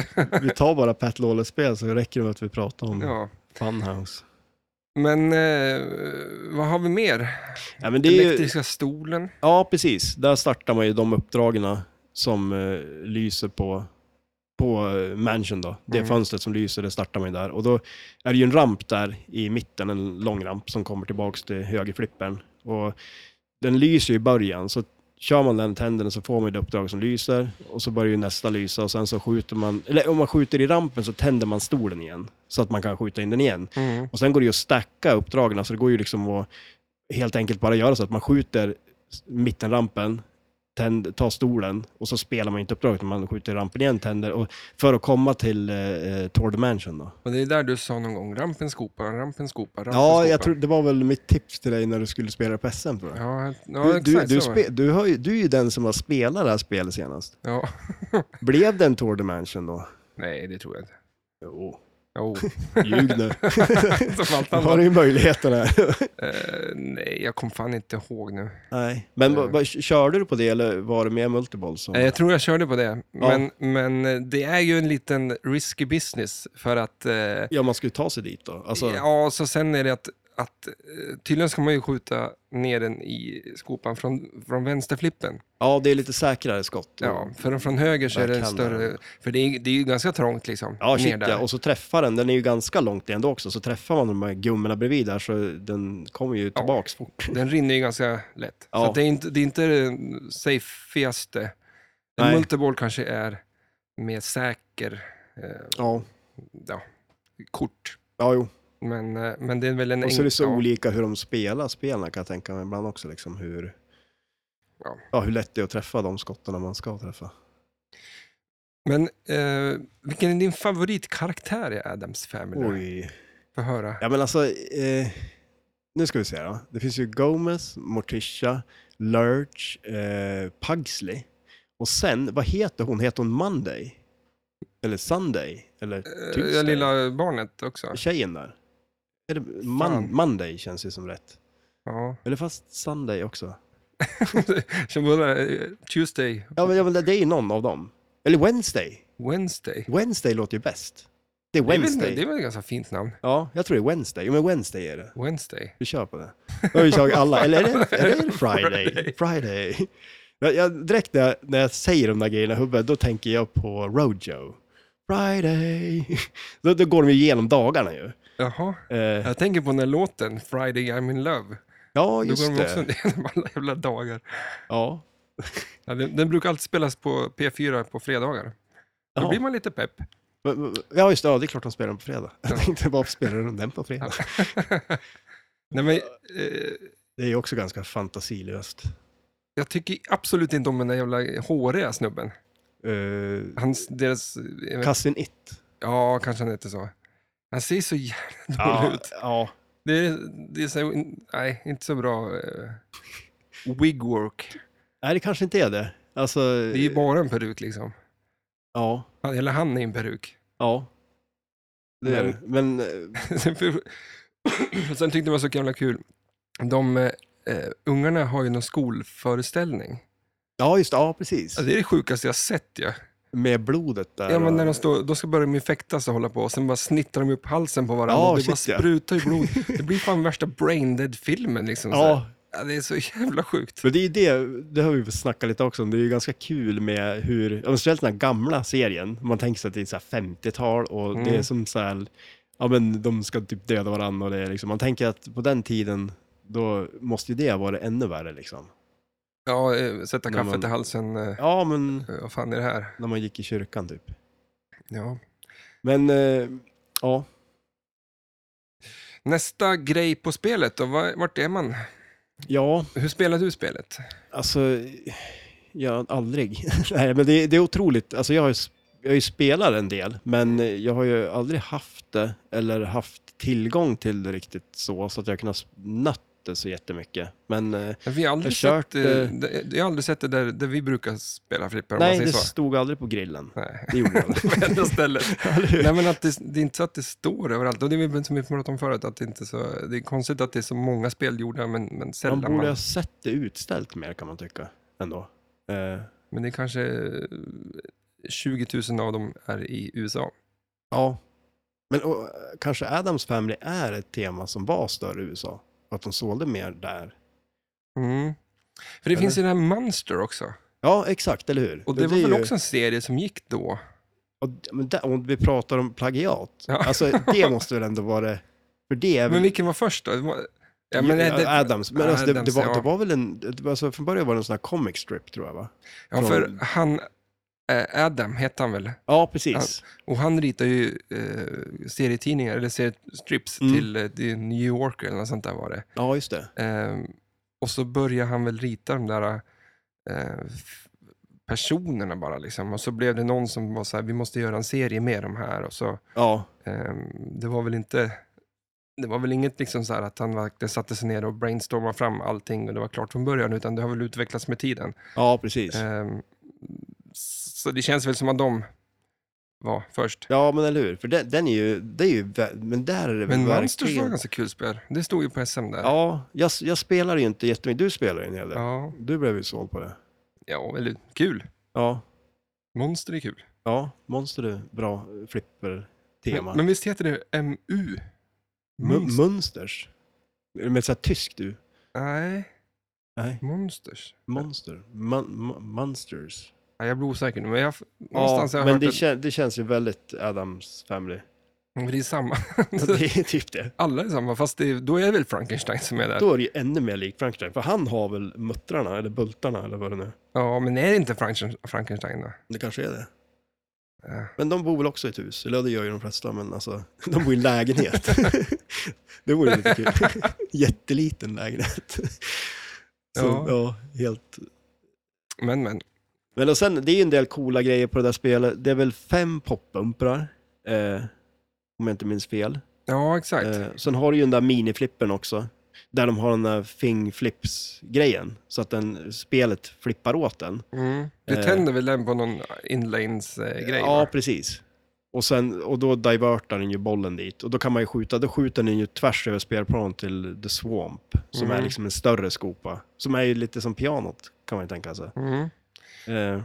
S2: Vi tar bara Pat Lawless-spel så räcker det med att vi pratar
S1: <laughs>
S2: om
S1: ja.
S2: Funhouse.
S1: Men eh, vad har vi mer?
S2: Ja, men det är ju,
S1: Elektriska stolen.
S2: Ja, precis. Där startar man ju de uppdragen som eh, lyser på, på eh, mansion då. Det
S1: Mm.
S2: fönstret som lyser, det startar man ju där. Och då är det ju en ramp där i mitten, en lång ramp som kommer tillbaks till högerflippen. Och den lyser ju i början, så kör man den, tänder den, så får man ju det uppdrag som lyser. Och så börjar ju nästa lysa och sen så skjuter man, eller om man skjuter i rampen så tänder man stolen igen. Så att man kan skjuta in den igen.
S1: Mm.
S2: Och sen går det ju att stacka uppdragen, alltså det går ju liksom att helt enkelt bara göra så att man skjuter s- mittenrampen, tänd, tar stolen och så spelar man inte uppdraget, utan man skjuter rampen igen, tänder, och för att komma till eh, eh, Tord Mansion då.
S1: Och det är där du sa någon gång, rampen skopa, rampen skopa, rampen
S2: Ja, jag
S1: skopa.
S2: tror, det var väl mitt tips till dig när du skulle spela på SM tror jag.
S1: Ja, ja
S2: Du,
S1: exakt
S2: du, du,
S1: så.
S2: spe, du, har ju, du är ju den som har spelat det här spelet senast.
S1: ja.
S2: Blev det en Tord Mansion då?
S1: Nej, det tror jag inte.
S2: Jo, <laughs>
S1: Jo, <laughs>
S2: ljug nu.
S1: som allt
S2: Då har du
S1: annat.
S2: ju
S1: <laughs>
S2: möjligheten här.
S1: Eh, nej, jag kom fan inte ihåg nu.
S2: Nej. Men vad- vad- körde du på det eller var det med multiball? Som...
S1: Eh, Jag tror jag körde på det,
S2: Ja.
S1: men, men eh, det är ju en liten risky business för att... Eh,
S2: Ja, man ska ju ta sig dit då. Alltså,
S1: Ja, så sen är det att, att eh, tydligen ska man ju skjuta ner den i skopan från, från vänsterflippen.
S2: Ja, det är lite säkrare skott.
S1: Ja, för från höger så är det en
S2: Backhanden.
S1: större... För det är, det är ju ganska trångt liksom.
S2: Ja, shit,
S1: ner där.
S2: ja. Och så träffar den, den är ju ganska långt ändå också, så träffar man de här gummorna bredvid där så den kommer ju tillbaks fort.
S1: Den rinner ju ganska lätt.
S2: Ja.
S1: Så att det, är inte, det är inte den safeaste. En
S2: Nej.
S1: multiball kanske är mer säker eh,
S2: Ja,
S1: ja, kort.
S2: ja jo.
S1: Men, eh, men det är väl en
S2: Och så är det så
S1: ja.
S2: olika hur de spelar spelen kan jag tänka mig ibland också, liksom hur,
S1: Ja.
S2: ja, hur lätt det är att träffa de skotten man ska träffa.
S1: Men eh, vilken är din favoritkaraktär i Adams Family?
S2: Oj.
S1: Få höra.
S2: Ja, men alltså, eh, nu ska vi se då. Det finns ju Gomez, Morticia, Lurch, eh, Pugsley. Och sen, vad heter hon? Heter hon Monday? Eller Sunday? Eller
S1: Eh,
S2: Tuesday?
S1: Det lilla barnet också.
S2: Tjejen där. Är det
S1: Fan.
S2: man, Monday känns ju som rätt.
S1: Ja. <laughs>
S2: Eller fast Sunday också.
S1: Som bara, eh, Tuesday,
S2: Ja, men, ja, men det det är ju någon av dem. Eller Wednesday.
S1: Wednesday.
S2: Wednesday låter ju bäst. Det är
S1: Det är, väl,
S2: Wednesday.
S1: det är väl ett ganska fint namn.
S2: Ja, jag tror det är Wednesday. Jo, men Wednesday är det.
S1: Wednesday.
S2: Vi kör på det. Då har vi tagit alla. Eller är det,
S1: <laughs>
S2: är det Friday? Friday. Jag, jag, direkt när jag, när jag säger de där grejerna i huvudet, då tänker jag på Rojo. Friday. <laughs> Då, då går de ju igenom dagarna ju.
S1: Jaha.
S2: Eh,
S1: Jag tänker på den här låten, Friday I'm in love.
S2: ja,
S1: Då
S2: just
S1: går de också
S2: det.
S1: igenom alla jävla dagar.
S2: Ja.
S1: Ja, den, den brukar alltid spelas på P4 på fredagar. Då
S2: Jaha.
S1: blir man lite pepp.
S2: Men- men- Ja, just det. Ja, det är klart de spelar den på fredag. <laughs> Jag tänkte, varför spelar de den på fredag?
S1: Nej, men, eh,
S2: Det är ju också ganska fantasilöst.
S1: jag tycker absolut inte om den där jävla håriga snubben.
S2: Uh,
S1: Hans, deras,
S2: Cousin It.
S1: ja, kanske han heter så. Han ser så jävla dålig
S2: Ja,
S1: ut.
S2: ja.
S1: Det är, det är så, nej, inte så bra eh, wigwork.
S2: Nej, det kanske inte är det. Alltså,
S1: Det är ju bara en peruk liksom.
S2: ja,
S1: Han- Eller han är en peruk. <laughs>
S2: ja. Det är, det. men, eh,
S1: Sen för- <clears throat> Sen tyckte jag det var så jävla kul. De eh, eh, ungarna har ju någon skolföreställning.
S2: ja just det, ja precis.
S1: Ja, det är det sjukaste jag sett ju.
S2: Alltså, Med blodet där.
S1: Ja, men
S2: och-
S1: när de, står, de ska börja med fäktas och hålla på, och sen bara snittar de upp halsen på varandra
S2: Ja,
S1: och det
S2: shit,
S1: bara
S2: ja.
S1: sprutar ju
S2: <laughs>
S1: blod. Det blir fan värsta brain dead filmen liksom. så här.
S2: ja,
S1: Ja, det är så jävla sjukt.
S2: men det är ju det, det har vi snackat lite också om, det är ju ganska kul med hur, ja, men speciellt den här gamla serien, man tänker sig att det är så här 50-tal och det är
S1: Mm.
S2: som så här, ja men de ska typ döda varandra och det är liksom, man tänker att på den tiden, då måste ju det vara ännu värre liksom.
S1: Ja, eh, sätta
S2: När
S1: kaffet
S2: man-
S1: i halsen. eh,
S2: Ja, men
S1: eh, Vad fan är det här?
S2: när man gick i kyrkan typ.
S1: Ja.
S2: Men, eh, ja,
S1: Nästa grej på spelet då, Var- vart är man?
S2: ja,
S1: Hur spelar du spelet?
S2: alltså, jag aldrig. <laughs> Nej, men det, det är otroligt, alltså jag har ju sp- jag har ju spelat en del, men eh, jag har ju aldrig haft det eller haft tillgång till det riktigt så, så att jag kunnat nött det så jättemycket. Men eh,
S1: Vi har aldrig,
S2: Jag kört,
S1: sett, eh,
S2: eh,
S1: det- jag har aldrig sett det där, där vi brukar spela flipper, om
S2: nej,
S1: man
S2: det
S1: säger så.
S2: stod aldrig på grillen.
S1: Nej. <laughs>
S2: Det <laughs> gjorde jag aldrig.
S1: På enda stället.
S2: Eller hur?
S1: Nej, men att det, det är inte så att det står överallt. Och det är väl som vi pratat om förut, att det, inte är så, det är konstigt att det är så många spel gjorda, men, men
S2: Man
S1: sällan man.
S2: borde ha sett det utställt mer kan man tycka ändå. Eh,
S1: Men det är kanske eh, 20 000 av dem är i USA.
S2: Ja. Men och, kanske Adams Family är ett tema som var större i USA. Och att de sålde mer där.
S1: Mm. För det
S2: Eller?
S1: finns ju den här Monster också.
S2: Ja, exakt, eller hur?
S1: Och det, var
S2: blir
S1: väl
S2: ju-
S1: också en serie som gick då?
S2: Och, men där, om vi pratar om plagiat.
S1: Ja. <laughs>
S2: Alltså, det måste väl ändå vara det. För det är
S1: Men
S2: väl...
S1: vilken var först då? Det var- Ja, men,
S2: Ja,
S1: det,
S2: Adams. Men alltså, det, det,
S1: Addams,
S2: var,
S1: ja.
S2: det var väl en... Det var, alltså, från början var det en sån här comic strip, tror jag, va?
S1: ja, för han, eh, Adam hette han väl?
S2: Ja, precis.
S1: Och han ritar ju eh, serietidningar, eller seriestrips
S2: Mm.
S1: till eh, det är New Yorker eller något sånt där var det.
S2: Ja, just det.
S1: Ehm, och så börjar han väl rita de där eh, f- personerna bara liksom. Och så blev det någon som var så här, vi måste göra en serie med de här. Och så,
S2: Ja,
S1: ehm, det var väl inte, det var väl inget liksom så här att han verkligen satte sig ner och brainstormade fram allting och det var klart från början, utan det har väl utvecklats med tiden.
S2: ja precis.
S1: Ehm, så det känns väl som att de var först.
S2: Ja, men eller hur? För den, den är ju... Det är ju... vä- Men där är det väl
S1: Men Monsters var
S2: verkligen...
S1: ganska kul spel. Det stod ju på SM där.
S2: Ja, jag, jag spelar ju inte jättemycket. Du spelar ju en hel del.
S1: ja,
S2: Du blev ju såld på det.
S1: ja eller kul.
S2: Ja,
S1: Monster är kul.
S2: ja Monster är bra flipper-tema.
S1: Men, men visst heter det MU?
S2: Mun- Munsters? Är det Med såhär tyskt du?
S1: Nej,
S2: Nej,
S1: Monsters.
S2: Monster. Mon- mon- monsters.
S1: Nej, jag blir osäker nu, men jag,
S2: Ja,
S1: någonstans har jag
S2: men
S1: hört
S2: det,
S1: det...
S2: kän- det känns ju väldigt Adams Family.
S1: <laughs> Det är samma.
S2: Ja, det är typ det.
S1: <laughs> Alla är samma, fast det, då är det väl Frankenstein som är där.
S2: Då är det ju ännu mer lik Frankenstein, för han har väl muttrarna eller bultarna eller vad det nu är.
S1: Ja, men är det inte Franken- Frankenstein då?
S2: Det kanske är det.
S1: Ja.
S2: Men de bor väl också i ett hus? Eller ja, det gör ju de flesta, men alltså, <laughs> de bor i en lägenhet. <laughs> det vore lite kul. <laughs> Jätteliten lägenhet. Så,
S1: Ja.
S2: ja. helt.
S1: Men, men.
S2: Men och sen, det är ju en del coola grejer på det där spelet. Det är väl fem poppumprar, eh, om jag inte minns fel.
S1: Ja, exakt.
S2: Eh, sen har du ju den där miniflippen också, där de har den där fingflips-grejen, så att den, spelet flippar åt den.
S1: Mm. Det
S2: eh.
S1: tänder väl den på någon inlanes-grej?
S2: Ja,
S1: va?
S2: precis. Och, sen, och då divertar den ju bollen dit. Och då kan man ju skjuta, då skjuter den ju tvärs över spelplanen till The Swamp, som
S1: Mm.
S2: är liksom en större skopa. Som är ju lite som pianot, kan man ju tänka sig.
S1: Mm.
S2: Eh,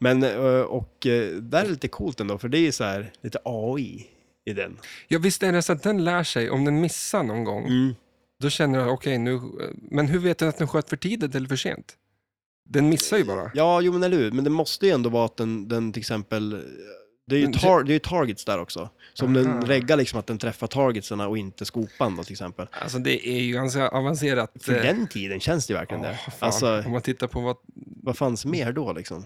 S2: men, eh, och eh, där är det lite coolt ändå, för det är ju så här lite AI i den.
S1: ja, visst är det så att den lär sig, om den missar någon gång, Då känner jag, okej, nu... Men hur vet den att den sköt för tidigt eller för sent? Den missar ju bara.
S2: Ja, jo men eller hur, men det måste ju ändå vara att den, den till exempel, det är ju,
S1: Men det-
S2: tar, det är ju targets där också. Så om
S1: Aha.
S2: den reggar liksom att den träffar targetsarna och inte skopan då till exempel.
S1: Alltså det är ju ganska avancerat.
S2: För
S1: eh,
S2: den tiden känns det ju verkligen
S1: ja,
S2: det.
S1: fan.
S2: Alltså,
S1: Om man tittar på vad...
S2: vad fanns mer då liksom?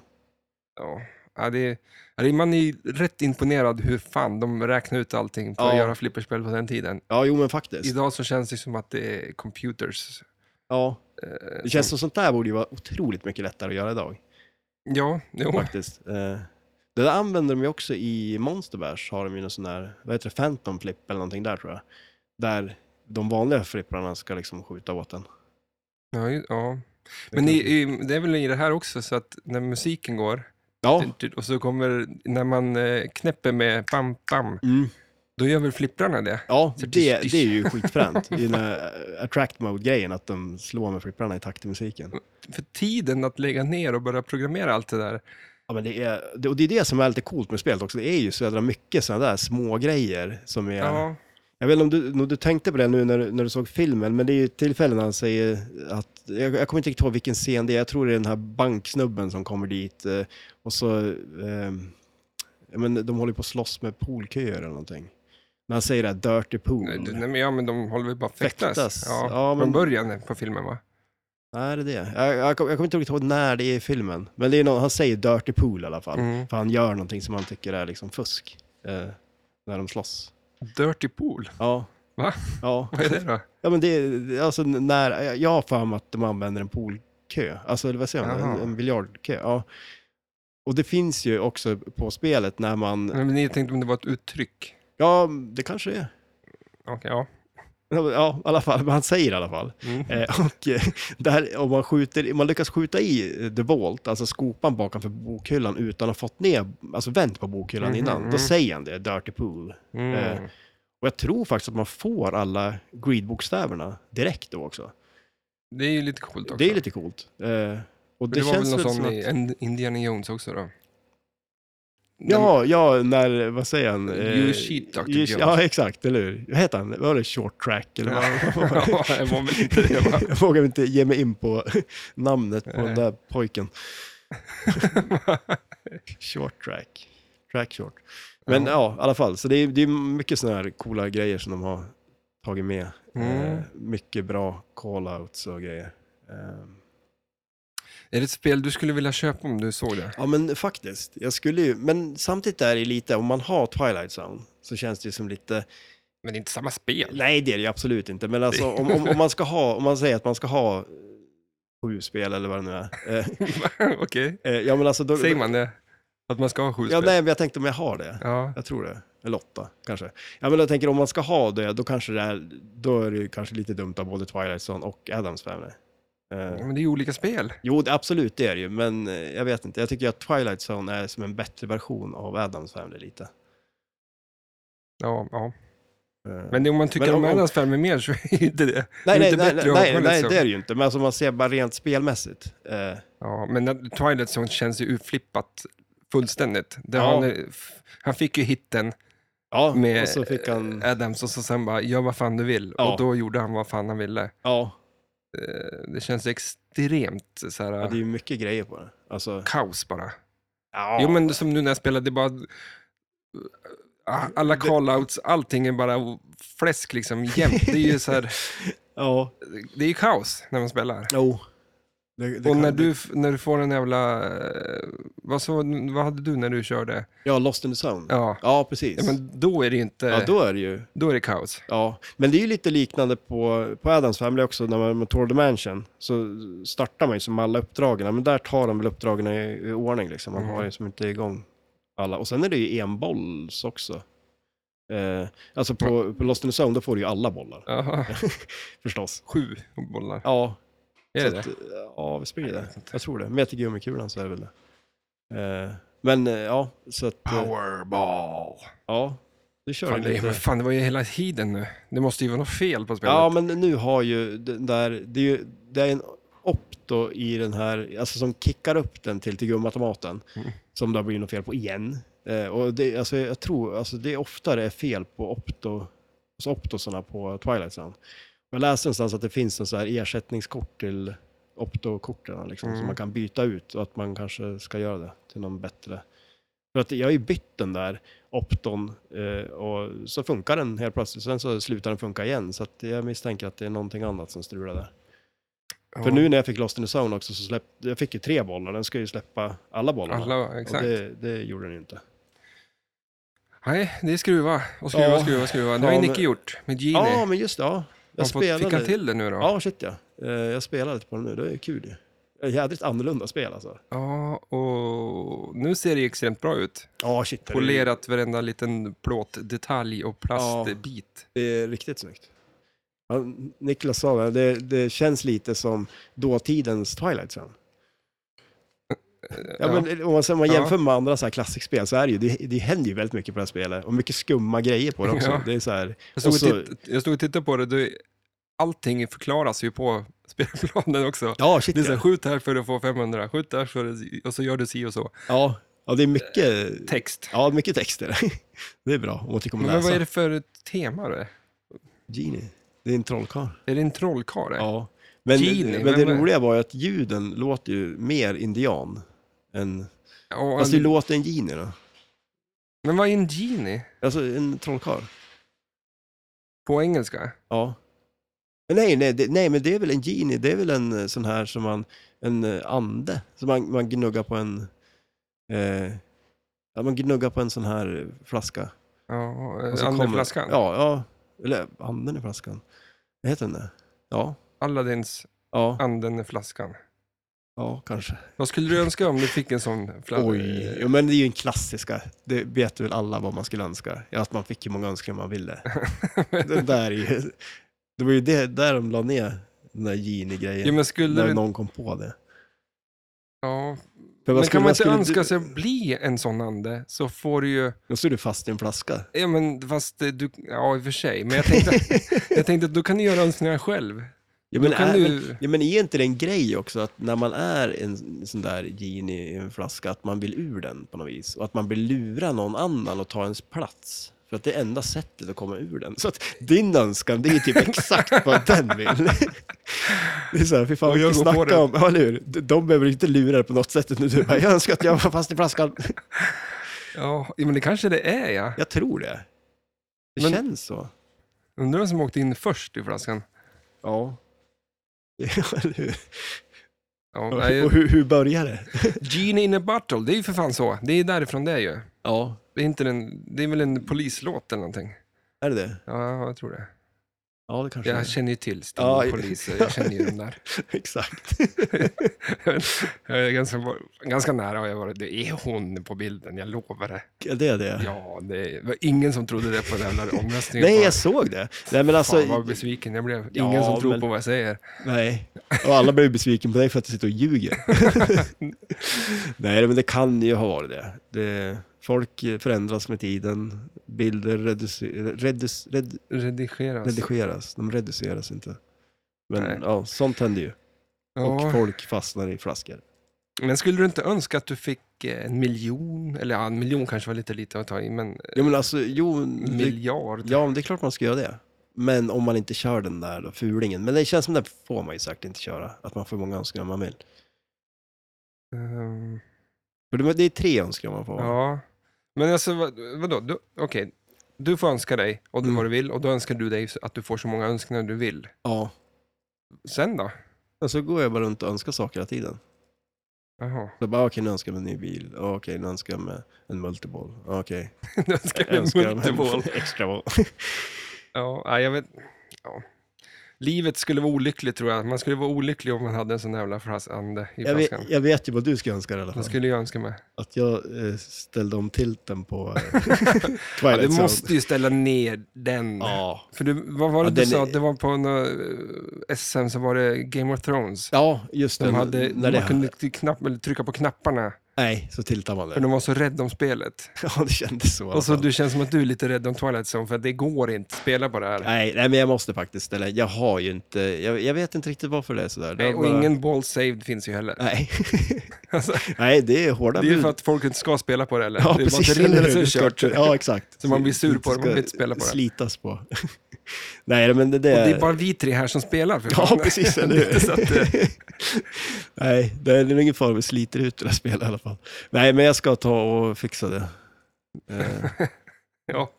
S1: Ja, ja, det, ja, det- man är ju rätt imponerad hur fan de räknar ut allting på att
S2: Ja.
S1: göra flipperspel på den tiden.
S2: Ja, jo men faktiskt.
S1: Idag så känns det som att det är computers.
S2: Ja,
S1: eh,
S2: det känns
S1: som, Oh.
S2: som sånt där borde ju vara otroligt mycket lättare att göra idag.
S1: ja, jo.
S2: Faktiskt. Eh, Det där använder de ju också i Monster Bash, har de ju någon sån där, vad heter det, Phantom Flip eller någonting där tror jag. Där de vanliga flipprarna ska liksom skjuta åt en.
S1: Ja, ju- ja.
S2: Det
S1: Men
S2: kan-
S1: i, i, det är väl i det här också så att när musiken går
S2: Ja.
S1: tut, tut, Typ, och så kommer, när man eh, knäpper med bam, bam,
S2: Mm.
S1: då gör väl flipprarna det?
S2: Ja,
S1: Så
S2: det, det,
S1: tyst.
S2: är ju skitfränt. I den här eh, attract mode-grejen, att de slår med flipprarna i takt till musiken.
S1: För tiden att lägga ner och börja programmera allt det där.
S2: Ja, men det är, det, och det är det som är lite coolt med spelet också. Det är ju så jädra mycket sådana där små grejer som är...
S1: Ja,
S2: Jag vet inte om du, om du tänkte på det nu när, du- när du såg filmen, men det är ju tillfällen när han säger att... Jag, jag kommer inte riktigt ihåg vilken scen det är. Jag tror det är den här banksnubben som kommer dit eh, och så... Eh, ja, men de håller på att slåss med poolköer eller någonting. När han säger det här Dirty Pool.
S1: nej, det- nej, men, ja men de håller väl bara fäktas.
S2: Fäktas.
S1: Ja,
S2: Ja,
S1: Från
S2: men-
S1: början på filmen va?
S2: Nej, det är det. Jag, jag, kom- jag kommer inte riktigt ihåg när det är i filmen. Men det är någon, han säger Dirty Pool i alla fall.
S1: Mm.
S2: För han gör någonting som han tycker är liksom fusk. Eh, när de slåss.
S1: Dirty Pool, <laughs>
S2: Ja.
S1: Va?
S2: Ja.
S1: vad är det då?
S2: ja, men det är alltså när, jag- jag har för mig att de använder en poolkö. Alltså, eller vad säger man? En,
S1: Jaha.
S2: en biljardkö. Ja. Och det finns ju också på spelet när man,
S1: Nej, men jag tänkte om det var ett uttryck.
S2: ja, det kanske det är.
S1: Okej, ja.
S2: Ja, i alla fall, men han säger i alla fall.
S1: Mm.
S2: Eh, <laughs> och eh, där, om man, skjuter, man lyckas skjuta i eh, the vault, alltså skopan bakom för bokhyllan utan att ha fått ner, alltså vänt på bokhyllan
S1: Mhm,
S2: innan,
S1: mm.
S2: då säger han det, dirty pool. Eh,
S1: Mm.
S2: Och jag tror faktiskt att man får alla greed-bokstäverna direkt då också.
S1: Det är ju lite coolt också.
S2: Det är lite coolt. Eh, och
S1: För
S2: det,
S1: det, var
S2: känns
S1: väl
S2: väl
S1: någon
S2: som
S1: sån
S2: att...
S1: i Ind- Indiana Jones också då? <laughs>
S2: Ja, ja, när, vad säger han? Eh,
S1: You cheat, Dr.
S2: you-
S1: Jones.
S2: Ja, exakt, eller hur? Vad heter han? Var det short track? Eller vad- vad var det?
S1: <laughs> Ja, det var väl inte
S2: <laughs>
S1: det va?
S2: Jag vågar inte ge mig in på namnet på den
S1: Nej.
S2: där pojken. short track. Track short. Men ja,
S1: Ja.
S2: i alla fall. Så det är, det är mycket sådana här coola grejer som de har tagit med.
S1: Mm.
S2: Eh, mycket bra call-outs och grejer. Eh,
S1: Är det ett spel du skulle vilja köpa om du såg det?
S2: ja, men faktiskt. Jag skulle ju, men samtidigt är det lite, om man har Twilight Zone så känns det ju som lite,
S1: Men det är inte samma spel.
S2: nej det är det ju absolut inte, men alltså om, om, om man ska ha, om man säger att man ska ha eh, sju spel eller vad det nu är. Eh,
S1: <laughs> Okej,
S2: eh, ja, men alltså då,
S1: säger man det? Att man ska ha sju
S2: Ja,
S1: spel?
S2: nej, men jag tänkte om jag har det.
S1: Ja.
S2: Jag tror det. Eller åtta, kanske. Ja, men jag tänker om man ska ha det, då kanske det är, då är det ju kanske lite dumt av både Twilight Zone och Adams Family. Eh,
S1: ja, men det är ju olika spel.
S2: jo, det, absolut, det är det ju, men eh, jag vet inte. Jag tycker att Twilight Zone är som en bättre version av Adams Family lite.
S1: Ja, ja.
S2: Eh,
S1: Men det- om man tycker
S2: Men
S1: om
S2: om-
S1: Adams Family mer så <laughs> är ju inte det.
S2: nej,
S1: det är
S2: nej,
S1: inte
S2: nej,
S1: bättre
S2: nej,
S1: att ha Twilight
S2: nej, nej,
S1: Zone.
S2: det är det ju inte. Men alltså, om man ser bara rent spelmässigt. Eh,
S1: Ja, men att Twilight Zone känns ju urflippat fullständigt. Där
S2: Ja.
S1: han, är- f- han fick ju hitten
S2: ja,
S1: med eh,
S2: och så fick han...
S1: Adams och så sen bara, gör vad fan du vill.
S2: Ja.
S1: Och då gjorde han vad fan han ville.
S2: Ja,
S1: Eh, Det känns extremt så här,
S2: det är ju mycket grejer på det. Alltså,
S1: kaos bara.
S2: ja.
S1: Jo, men som nu när jag spelade, det är bara... Alla callouts, allting är bara fläsk liksom jämt. Det är ju så här,
S2: ja.
S1: det är ju kaos när man spelar.
S2: Jo. Det, det
S1: Och
S2: kan-
S1: när
S2: det-
S1: du, när du får den jävla... eh, Vad, så, vad hade du när du körde?
S2: Ja, Lost in the Zone. Ja,
S1: Ja,
S2: precis.
S1: ja men då är det ju inte...
S2: ja,
S1: då...
S2: då är det ju...
S1: är det kaos.
S2: Ja, men det är ju lite liknande på, på Adams Family också, när man med Tour Dimension så startar man ju som alla uppdragen, men där tar de väl uppdragen i, i ordning liksom, man
S1: Mm.
S2: har ju som inte igång alla. Och sen är det ju enbolls också. Eh, alltså
S1: Mm.
S2: på, på Lost in the Zone, då får du ju alla bollar, <laughs>
S1: Jaha,
S2: förstås.
S1: sju bollar.
S2: Ja,
S1: Är det
S2: så
S1: det?
S2: att, Ja, vi springer det. Jag tror det. Med gummikulan så är det väl det. Eh, men eh, ja, så att... eh,
S1: Powerball.
S2: Ja, du kör
S1: Ah, Fan,
S2: vi
S1: det,
S2: lite.
S1: men fan, det var ju hela tiden nu. Det måste ju vara något fel på spelet.
S2: Ja, men nu har ju den där, det är ju det är en opto i den här, alltså som kickar upp den till tillgummiautomaten,
S1: Mm.
S2: som det har blivit något fel på igen. Eh, och det, alltså, jag tror, alltså det är oftare är fel på opto, alltså optosarna på Twilight Zone. Jag läste någonstans att det finns en så här ersättningskort till optokorten, liksom,
S1: Mm.
S2: som man kan byta ut och att man kanske ska göra det till någon bättre. För att jag har ju bytt den där opton eh, och så funkar den helt plötsligt. Sen så slutar den funka igen. Så att jag misstänker att det är någonting annat som strular där.
S1: Ja,
S2: För nu när jag fick Lost in the Zone också så släppte jag fick ju tre bollar. Den ska ju släppa alla bollarna.
S1: Alla,
S2: och
S1: exakt.
S2: det, det gjorde den ju inte.
S1: Nej, det är skruva och skruva,
S2: Ja.
S1: skruva, skruva. Det
S2: Ja,
S1: har ju
S2: men-
S1: Nicke gjort med Genie.
S2: Ja, men just det. Ja. Jag
S1: Har fått-
S2: spelade.
S1: Fick han till det nu då?
S2: Ja, shit ja. Eh, Jag spelar lite på den nu. Det är kul ju. Jädrigt annorlunda spel alltså.
S1: Ja, och nu ser det ju extremt bra ut.
S2: Ja, shit. det är-
S1: Polerat varenda liten plåtdetalj och plastbit.
S2: Det är riktigt snyggt. Ja, Niklas sa det, det, det känns lite som dåtidens Twilight Zone. Ja,
S1: Ja.
S2: Men, om man, om man
S1: Ja.
S2: jämför med andra så här klassikspel så är det ju, det, det händer ju väldigt mycket på det här spelet. Och mycket skumma grejer på det också.
S1: Ja.
S2: Det är så här,
S1: Jag, stod
S2: och så-
S1: och titt, jag stod och tittade på det, det, allting förklaras ju på <laughs> spelplanen också.
S2: ja, shit
S1: Det är så här,
S2: ja.
S1: skjut här för att få 500, skjut där för att, och så gör du si och så.
S2: ja. Ja, det är mycket,
S1: Text.
S2: ja, mycket texter. Det <laughs> är bra, om man tycker om att
S1: Men vad
S2: läsa.
S1: är det för tema då?
S2: Genie. Det är en trollkarl.
S1: Är det en trollkarl? Ja.
S2: Ja. Men,
S1: Genie,
S2: men det
S1: vem är-
S2: roliga var ju att ljuden låter ju mer indian än...
S1: Ja,
S2: Fast det
S1: en,
S2: låter en genie då.
S1: men vad är en genie
S2: Alltså en trollkarl.
S1: på engelska?
S2: Ja. Men nej, nej, det, nej, men det är väl en genie, det är väl en eh, sån här som man, en eh, ande, som man, man gnuggar på en, eh, ja, man gnuggar på en sån här eh, flaska.
S1: Ja,
S2: Och så
S1: eh,
S2: Alltså, kommer-
S1: andeflaskan? Ja.
S2: Ja, ja, eller anden i flaskan. Vad heter den där? Ja,
S1: Aladdins
S2: ja,
S1: anden i flaskan.
S2: ja, kanske.
S1: Vad skulle du önska om du fick en sån flaska?
S2: Oj, ja, men det är ju en klassiska, det vet väl alla vad man skulle önska, ja, att man fick hur många önskningar
S1: <laughs>
S2: man ville. det där är ju, det var ju det, där de la ner den där genie-grejen,
S1: Ja, men skulle
S2: när
S1: du...
S2: någon kom på det.
S1: Ja.
S2: För vad
S1: Men
S2: skulle-
S1: kan man
S2: vad
S1: inte
S2: skulle du-
S1: önska sig att bli en sån ande så får du ju...
S2: Då står du fast i en flaska.
S1: Ja, men fast det- du... Ja, i och för sig. Men jag tänkte,
S2: <laughs>
S1: jag tänkte att då kan du göra önskningar själv.
S2: Ja men,
S1: Då kan
S2: är,
S1: du-
S2: ja, men är inte det en grej också att när man är en sån där genie i en flaska, att man vill ur den på något vis? Och att man vill lura någon annan och ta ens plats? För att det är enda sättet att komma ur den. Så att din önskan, det är
S1: <laughs>
S2: ju typ exakt vad den vill. Det är så här, fy fan,
S1: Och
S2: vi
S1: jag går på
S2: snackar
S1: det.
S2: om, ja, eller hur? De- De behöver inte lura dig på något sätt nu. Du bara, jag önskar att jag var fast i flaskan.
S1: Ja, ja, men det kanske det är, ja.
S2: Jag tror det. Det
S1: Men-
S2: känns så.
S1: Undrar vem som åkte in först i flaskan.
S2: <laughs> Ja. eller hur?
S1: Ja,
S2: Och,
S1: nej,
S2: och hur, hur börjar det?
S1: Genie in a bottle, det är ju för fan så. Det är därifrån det ju.
S2: Ja.
S1: Det är, inte en, det är väl en polislåt eller någonting?
S2: Är det det?
S1: Ja, jag tror det.
S2: Ja, det kanske det är.
S1: Jag känner ju till Sting
S2: Ja, i-
S1: poliser, jag känner ju dem
S2: <laughs>
S1: där.
S2: Exakt.
S1: Jag är ganska, ganska nära har jag varit. Det är hon på bilden, jag lovar det.
S2: Ja, Det är det.
S1: Ja, det var ingen som trodde det på den jävla
S2: <laughs>
S1: omröstningen.
S2: Nej,
S1: Fan,
S2: jag såg det. Nej, men alltså,
S1: Fan vad besviken jag blev.
S2: Ja,
S1: Ingen som tror
S2: men-
S1: på vad jag säger.
S2: <laughs> nej. Och alla blev besviken på dig för att du sitter
S1: <laughs>
S2: och ljuger. nej, men det kan ju ha varit det. det folk förändras med tiden. Bilder reduce- redus, red,
S1: Redigeras.
S2: redigeras, de reduceras inte. Men
S1: Alltså. Nej.
S2: ja, sånt händer ju. Och
S1: ja.
S2: folk fastnar i flaskor.
S1: Men skulle du inte önska att du fick eh, en miljon? Eller ja, en miljon kanske var lite lite att ta i, men
S2: Ja, men alltså, jo,
S1: en
S2: det,
S1: miljard?
S2: ja, men det är klart man ska göra det. Men om man inte kör den där då, fulingen. Men det känns som den får man ju säkert inte köra. Att man får många önskningar man vill.
S1: Ehm,
S2: För det det är tre önskningar man får.
S1: ja. Men alltså, vad, vadå? Du- Okej, du får önska dig och
S2: Mm.
S1: vad du vill och då önskar du dig att du får så många önskningar du vill.
S2: Ja.
S1: Sen då?
S2: Och så går jag bara runt och önskar saker hela tiden.
S1: Jaha. <laughs>
S2: Så bara, okej, nu önskar jag mig en ny bil. Okej, nu önskar jag mig en multiboll.
S1: <laughs>
S2: Okej.
S1: Du önskar
S2: Jag
S1: dig
S2: önskar mig
S1: en multiboll.
S2: <laughs> En extra boll.
S1: Ja, nej, jag vet. Ja. Livet skulle vara olyckligt tror jag. Man skulle vara olycklig om man hade en sån jävla flaskande i
S2: jag,
S1: flaskan.
S2: vet, jag vet ju vad du ska önska dig i alla
S1: Vad
S2: fall.
S1: skulle jag önska mig?
S2: Att jag eh, ställde om tilten på
S1: <laughs>
S2: eh,
S1: Ja,
S2: Twilight
S1: du
S2: Zone.
S1: måste ju ställa ner den.
S2: Ja.
S1: För du, vad var det
S2: Ja,
S1: du
S2: den
S1: sa?
S2: är-
S1: Att det var på en eh, SM så var det Game of Thrones.
S2: ja, just det.
S1: De hade,
S2: när
S1: man
S2: det
S1: kunde ty- knapp, eller trycka på knapparna,
S2: Nej, så tiltar man
S1: för
S2: det.
S1: de var så rädda om spelet.
S2: <laughs> Ja, det kändes så. i alla
S1: Och så
S2: fall.
S1: du känns som att du är lite rädd om Twilight Zone, för det går inte att spela på det här.
S2: Nej, nej, men jag måste faktiskt ställa. Jag har ju inte, jag, jag vet inte riktigt varför det är sådär. Det
S1: Nej,
S2: har
S1: och
S2: bara-
S1: ingen ball saved finns ju heller.
S2: Nej.
S1: <laughs>
S2: <laughs>
S1: Alltså,
S2: nej, det är hårda
S1: det är ju
S2: bud.
S1: för att folk inte ska spela på det heller.
S2: Ja,
S1: det är
S2: precis.
S1: bara att det rinner så
S2: eller
S1: är
S2: hur?
S1: det
S2: ska
S1: kört.
S2: inte- Ja, exakt.
S1: Så man blir sur på det, man
S2: ska
S1: vill inte spela på det.
S2: Slitas på. <laughs> Nej, men det, det
S1: Och
S2: är...
S1: det är bara vi tre här som spelar. För
S2: Eh. <laughs> Ja,
S1: fan.
S2: precis. Eller
S1: Det är inte <laughs> så att, eh,
S2: hur? <laughs> Nej, det är nog ingen fara om vi sliter ut det där spelet i alla fall. Nej, men jag ska ta och fixa det.
S1: <laughs>
S2: Eh,
S1: ja.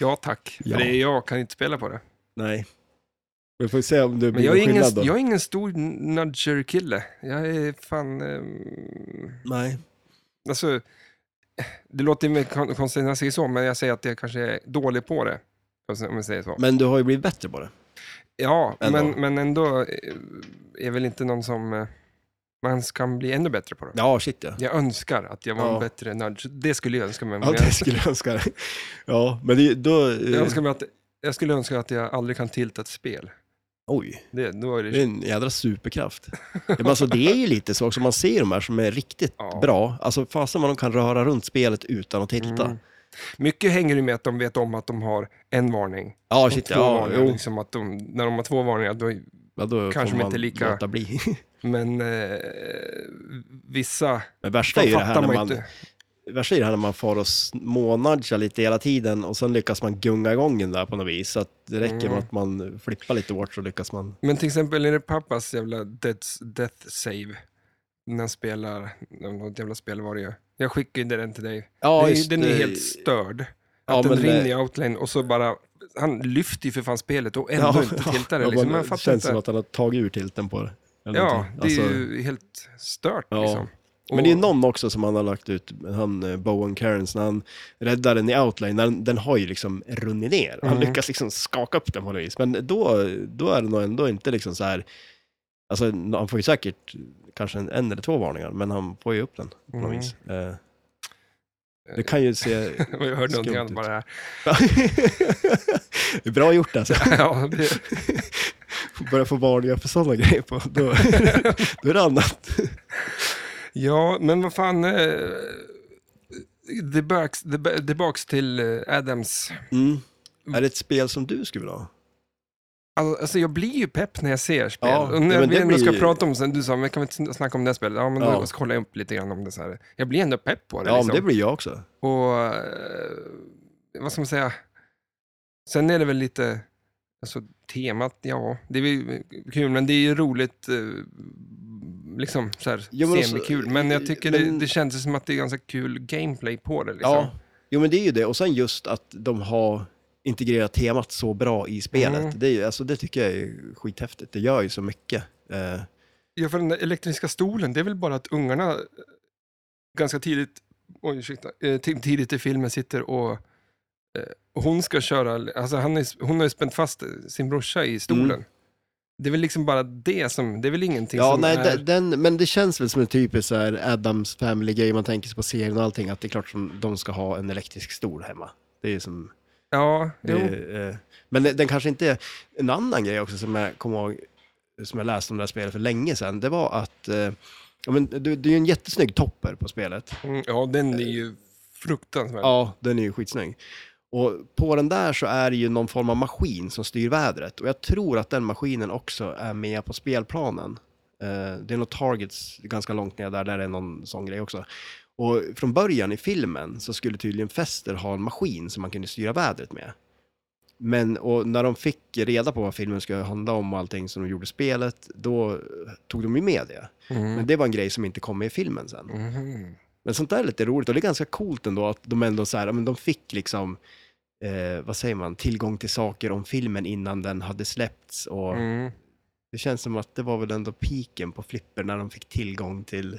S1: ja, tack.
S2: Ja.
S1: För det är jag kan inte spela på det.
S2: nej. Vi får se om det
S1: Men
S2: blir
S1: jag
S2: någon
S1: är, ingen,
S2: skillnad då.
S1: jag är ingen stor nudger-kille. Jag är fan... Eh,
S2: Nej.
S1: alltså, det låter ju mer kon- konstigt när jag säger så, men jag säger att jag kanske är dålig på det. alltså, Om jag säger så.
S2: Men du har ju blivit bättre på det.
S1: Ja,
S2: Ändå.
S1: Men, men ändå eh, är väl inte någon som... eh, Man ska bli ännu bättre på det.
S2: Ja, shit ja.
S1: Jag önskar att jag var en
S2: Ja.
S1: bättre nudge. Det skulle jag önska mig. men
S2: Ja,
S1: jag,
S2: det skulle jag önska dig. Ja, men det, då... eh,
S1: jag, önskar mig att, jag skulle önska att jag aldrig kan tilta ett spel.
S2: eh, Oj,
S1: Det, då är det,
S2: det är en jädra superkraft. Ja, Men alltså, det är ju lite så också, man ser de här som är riktigt
S1: Ja.
S2: bra. Alltså fasen vad de kan röra runt spelet utan att tilta.
S1: Mm. Mycket hänger ju med att de vet om att de har en varning.
S2: Ja,
S1: och
S2: shit
S1: två
S2: ja.
S1: varningar,
S2: Jo,
S1: liksom att de, när de har två varningar, då,
S2: ja, då
S1: Kanske de
S2: får man
S1: inte lika-
S2: låta bli. <laughs>
S1: men eh, vissa...
S2: Men värsta är
S1: De
S2: ju det här
S1: fattar
S2: när
S1: man
S2: man...
S1: inte.
S2: värsta är det här när man far och smånudgar lite hela tiden och sen lyckas man gunga igång den där på något vis. Så att det räcker
S1: Mm.
S2: med att man flippar lite hårt så lyckas man.
S1: Men till exempel är det pappas jävla death, death save. När han spelar, något jävla spel var det ju. Jag skickade ju den till dig.
S2: Ja,
S1: det, är-
S2: just eh,
S1: den
S2: det.
S1: är helt störd. Att
S2: Ja,
S1: den
S2: men det-
S1: rinner i outline och så bara, han lyfter ju för fan spelet och ändå inte tiltar det.
S2: <laughs> ja,
S1: Liksom.
S2: man-
S1: Jag
S2: det
S1: fattar
S2: känns
S1: inte.
S2: som att han har tagit ur tilten på det. eller
S1: ja,
S2: någonting.
S1: det
S2: Alltså,
S1: är ju helt stört
S2: Ja.
S1: liksom.
S2: Men det är någon också som han har lagt ut, han eh, Bowen Cairns, när han räddar den i outline, den, den har ju liksom runnit ner. Han
S1: Mm.
S2: lyckas liksom skaka upp den på något vis. Men då, då är det nog ändå inte liksom så här, alltså han får ju säkert kanske en, en eller två varningar, men han får ju upp den på något
S1: Mm.
S2: vis. Eh, det kan ju se... <laughs>
S1: Och jag hörde någonting
S2: Skumt
S1: annat
S2: ut.
S1: bara <laughs> här.
S2: Det är Bra gjort alltså.
S1: ja, det,
S2: Börja få varningar för sådana grejer, på, då,
S1: <laughs>
S2: då är det annat.
S1: ja, men vad fan. Eh, tillbaks, tillbaks till eh, Adams.
S2: Mm. Är det ett spel som du skulle vilja ha?
S1: All- Alltså jag blir ju pepp när jag ser spel.
S2: Ja,
S1: och när
S2: men
S1: vi
S2: det
S1: ändå ska
S2: blir ju-
S1: prata om sen, du sa, men kan vi inte snacka om det här spelet? Ja, men
S2: Ja.
S1: då ska jag kolla upp lite grann om det så här. Jag blir ändå pepp på det
S2: Ja, men
S1: liksom.
S2: det blir jag också.
S1: Och eh, vad ska man säga? Sen är det väl lite, alltså temat, ja, det är ju kul, men det är ju roligt, eh, liksom så här
S2: Ja, men alltså,
S1: semikul. Men jag tycker
S2: men-
S1: det, det känns som att det är ganska kul gameplay på det liksom.
S2: Ja, jo men det är ju det. Och sen just att de har integrerat temat så bra i spelet.
S1: Mm.
S2: Det, är ju, alltså, det tycker jag är skithäftigt. Det gör ju så mycket. Eh,
S1: Ja, för den där elektriska stolen, det är väl bara att ungarna eh, ganska tidigt, oj, ursäkta, eh, ti- tidigt i filmen sitter och eh, och hon ska köra, alltså han är, hon har ju spänt fast sin brorsa i stolen.
S2: Mm.
S1: Det är väl liksom bara det som, det är väl ingenting
S2: ja,
S1: som
S2: nej,
S1: är...
S2: de- den, men det känns väl som en typisk så här Adams Family-grej. Man tänker sig på serien och allting. Att det är klart som de ska ha en elektrisk stol hemma. Det är ju som...
S1: ja,
S2: Det,
S1: jo.
S2: eh, men den kanske inte är... En annan grej också som jag kommer ihåg, som jag läste om det här spelet för länge sedan, det var att... Eh, ja, men, det, det är ju en jättesnygg topper på spelet.
S1: Mm, ja, den är ju fruktansvärd.
S2: Ja, den är ju skitsnygg. Och på den där så är det ju någon form av maskin som styr vädret. Och jag tror att den maskinen också är med på spelplanen. Eh, det är något targets ganska långt ner där, där är någon sån grej också. Och från början i filmen så skulle tydligen Fester ha en maskin som man kunde styra vädret med. Men och när de fick reda på vad filmen skulle handla om och allting som de gjorde i spelet, då tog de ju med det. Men
S1: Mm.
S2: det var en grej som inte kom med i filmen sen.
S1: Mhm.
S2: Men sånt där är lite roligt och det är ganska coolt ändå att de ändå så här, ja, men de fick liksom, eh, vad säger man, tillgång till saker om filmen innan den hade släppts och
S1: Mm.
S2: det känns som att det var väl ändå piken på flipper när de fick tillgång till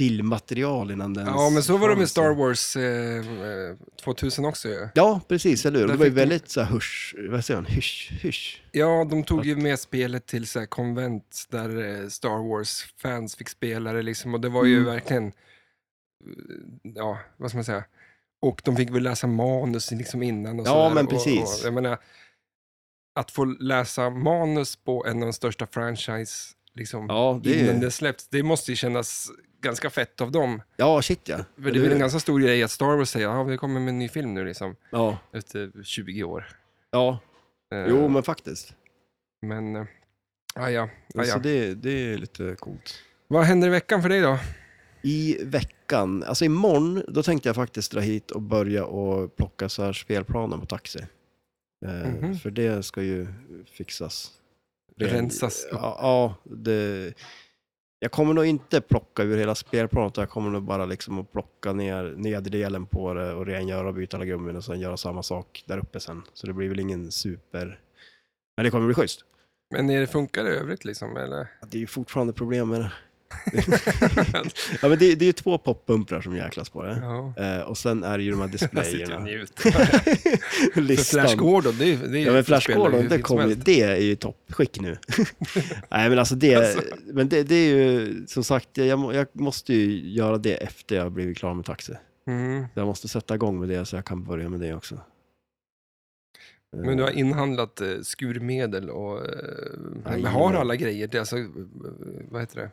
S2: filmmaterial innan den.
S1: Ja, men så var det med Star Wars eh, eh, 2000 också ju.
S2: Ja, precis, eller hur?
S1: Där
S2: Det var ju
S1: fick de-
S2: väldigt så här husch, vad säger man, hysch, hysch.
S1: Ja, de tog ju med spelet till så här konvent där eh, Star Wars-fans fick spela det liksom. Och det var ju
S2: Mm.
S1: verkligen, eh, ja, vad ska man säga? Och de fick väl läsa manus liksom innan och
S2: Ja,
S1: så där.
S2: men
S1: och,
S2: precis.
S1: Och, jag menar, att få läsa manus på en av de största franchise, liksom,
S2: Ja,
S1: innan det släppts, det måste ju kännas ganska fett av dem.
S2: Ja, shit ja.
S1: För det är väl en ganska stor grej att Star Wars säger, ja, vi kommer med en ny film nu liksom,
S2: Ja,
S1: efter 20 år.
S2: ja,
S1: Eh,
S2: jo men faktiskt.
S1: Men, eh, ah, ja, ah,
S2: Så
S1: ja.
S2: det, det är lite coolt.
S1: Vad händer i veckan för dig då?
S2: I veckan, alltså imorgon, då tänkte jag faktiskt dra hit och börja och plocka så här spelplanen på taxi. Eh,
S1: Mhm.
S2: För det ska ju fixas.
S1: Rensas upp.
S2: Ja, ja det, jag kommer nog inte plocka ur hela spelplanen, utan jag kommer nog bara liksom att plocka ner nederdelen på det och rengöra och byta alla gummin och sen göra samma sak där uppe sen. Så det blir väl ingen super... Men det kommer bli schysst.
S1: Men är det funkar det i övrigt liksom? Eller?
S2: <laughs> Det är ju fortfarande problem med det. Ja, men det, det är ju två poppumprar som jäklas på det.
S1: Ja.
S2: Eh, och sen är det ju de här
S1: Jag sitter och
S2: displayerna. <laughs>
S1: njuter. För Flash
S2: Listan.
S1: Gordon, det är ju... det är ju-
S2: Ja, men Flash
S1: spelar ju
S2: Gordon,
S1: hur
S2: det,
S1: som
S2: kom ju,
S1: helst.
S2: det är ju
S1: <laughs>
S2: toppskick nu. Nej, men alltså det, men det, det är ju som sagt, jag, må- jag måste ju göra det efter jag har blivit klar med taxi.
S1: Mm.
S2: Jag måste sätta igång med det så jag kan börja med det också.
S1: Men du har inhandlat eh, skurmedel och... eh,
S2: Aj.
S1: Men har alla grejer? Det är alltså, eh, vad heter det?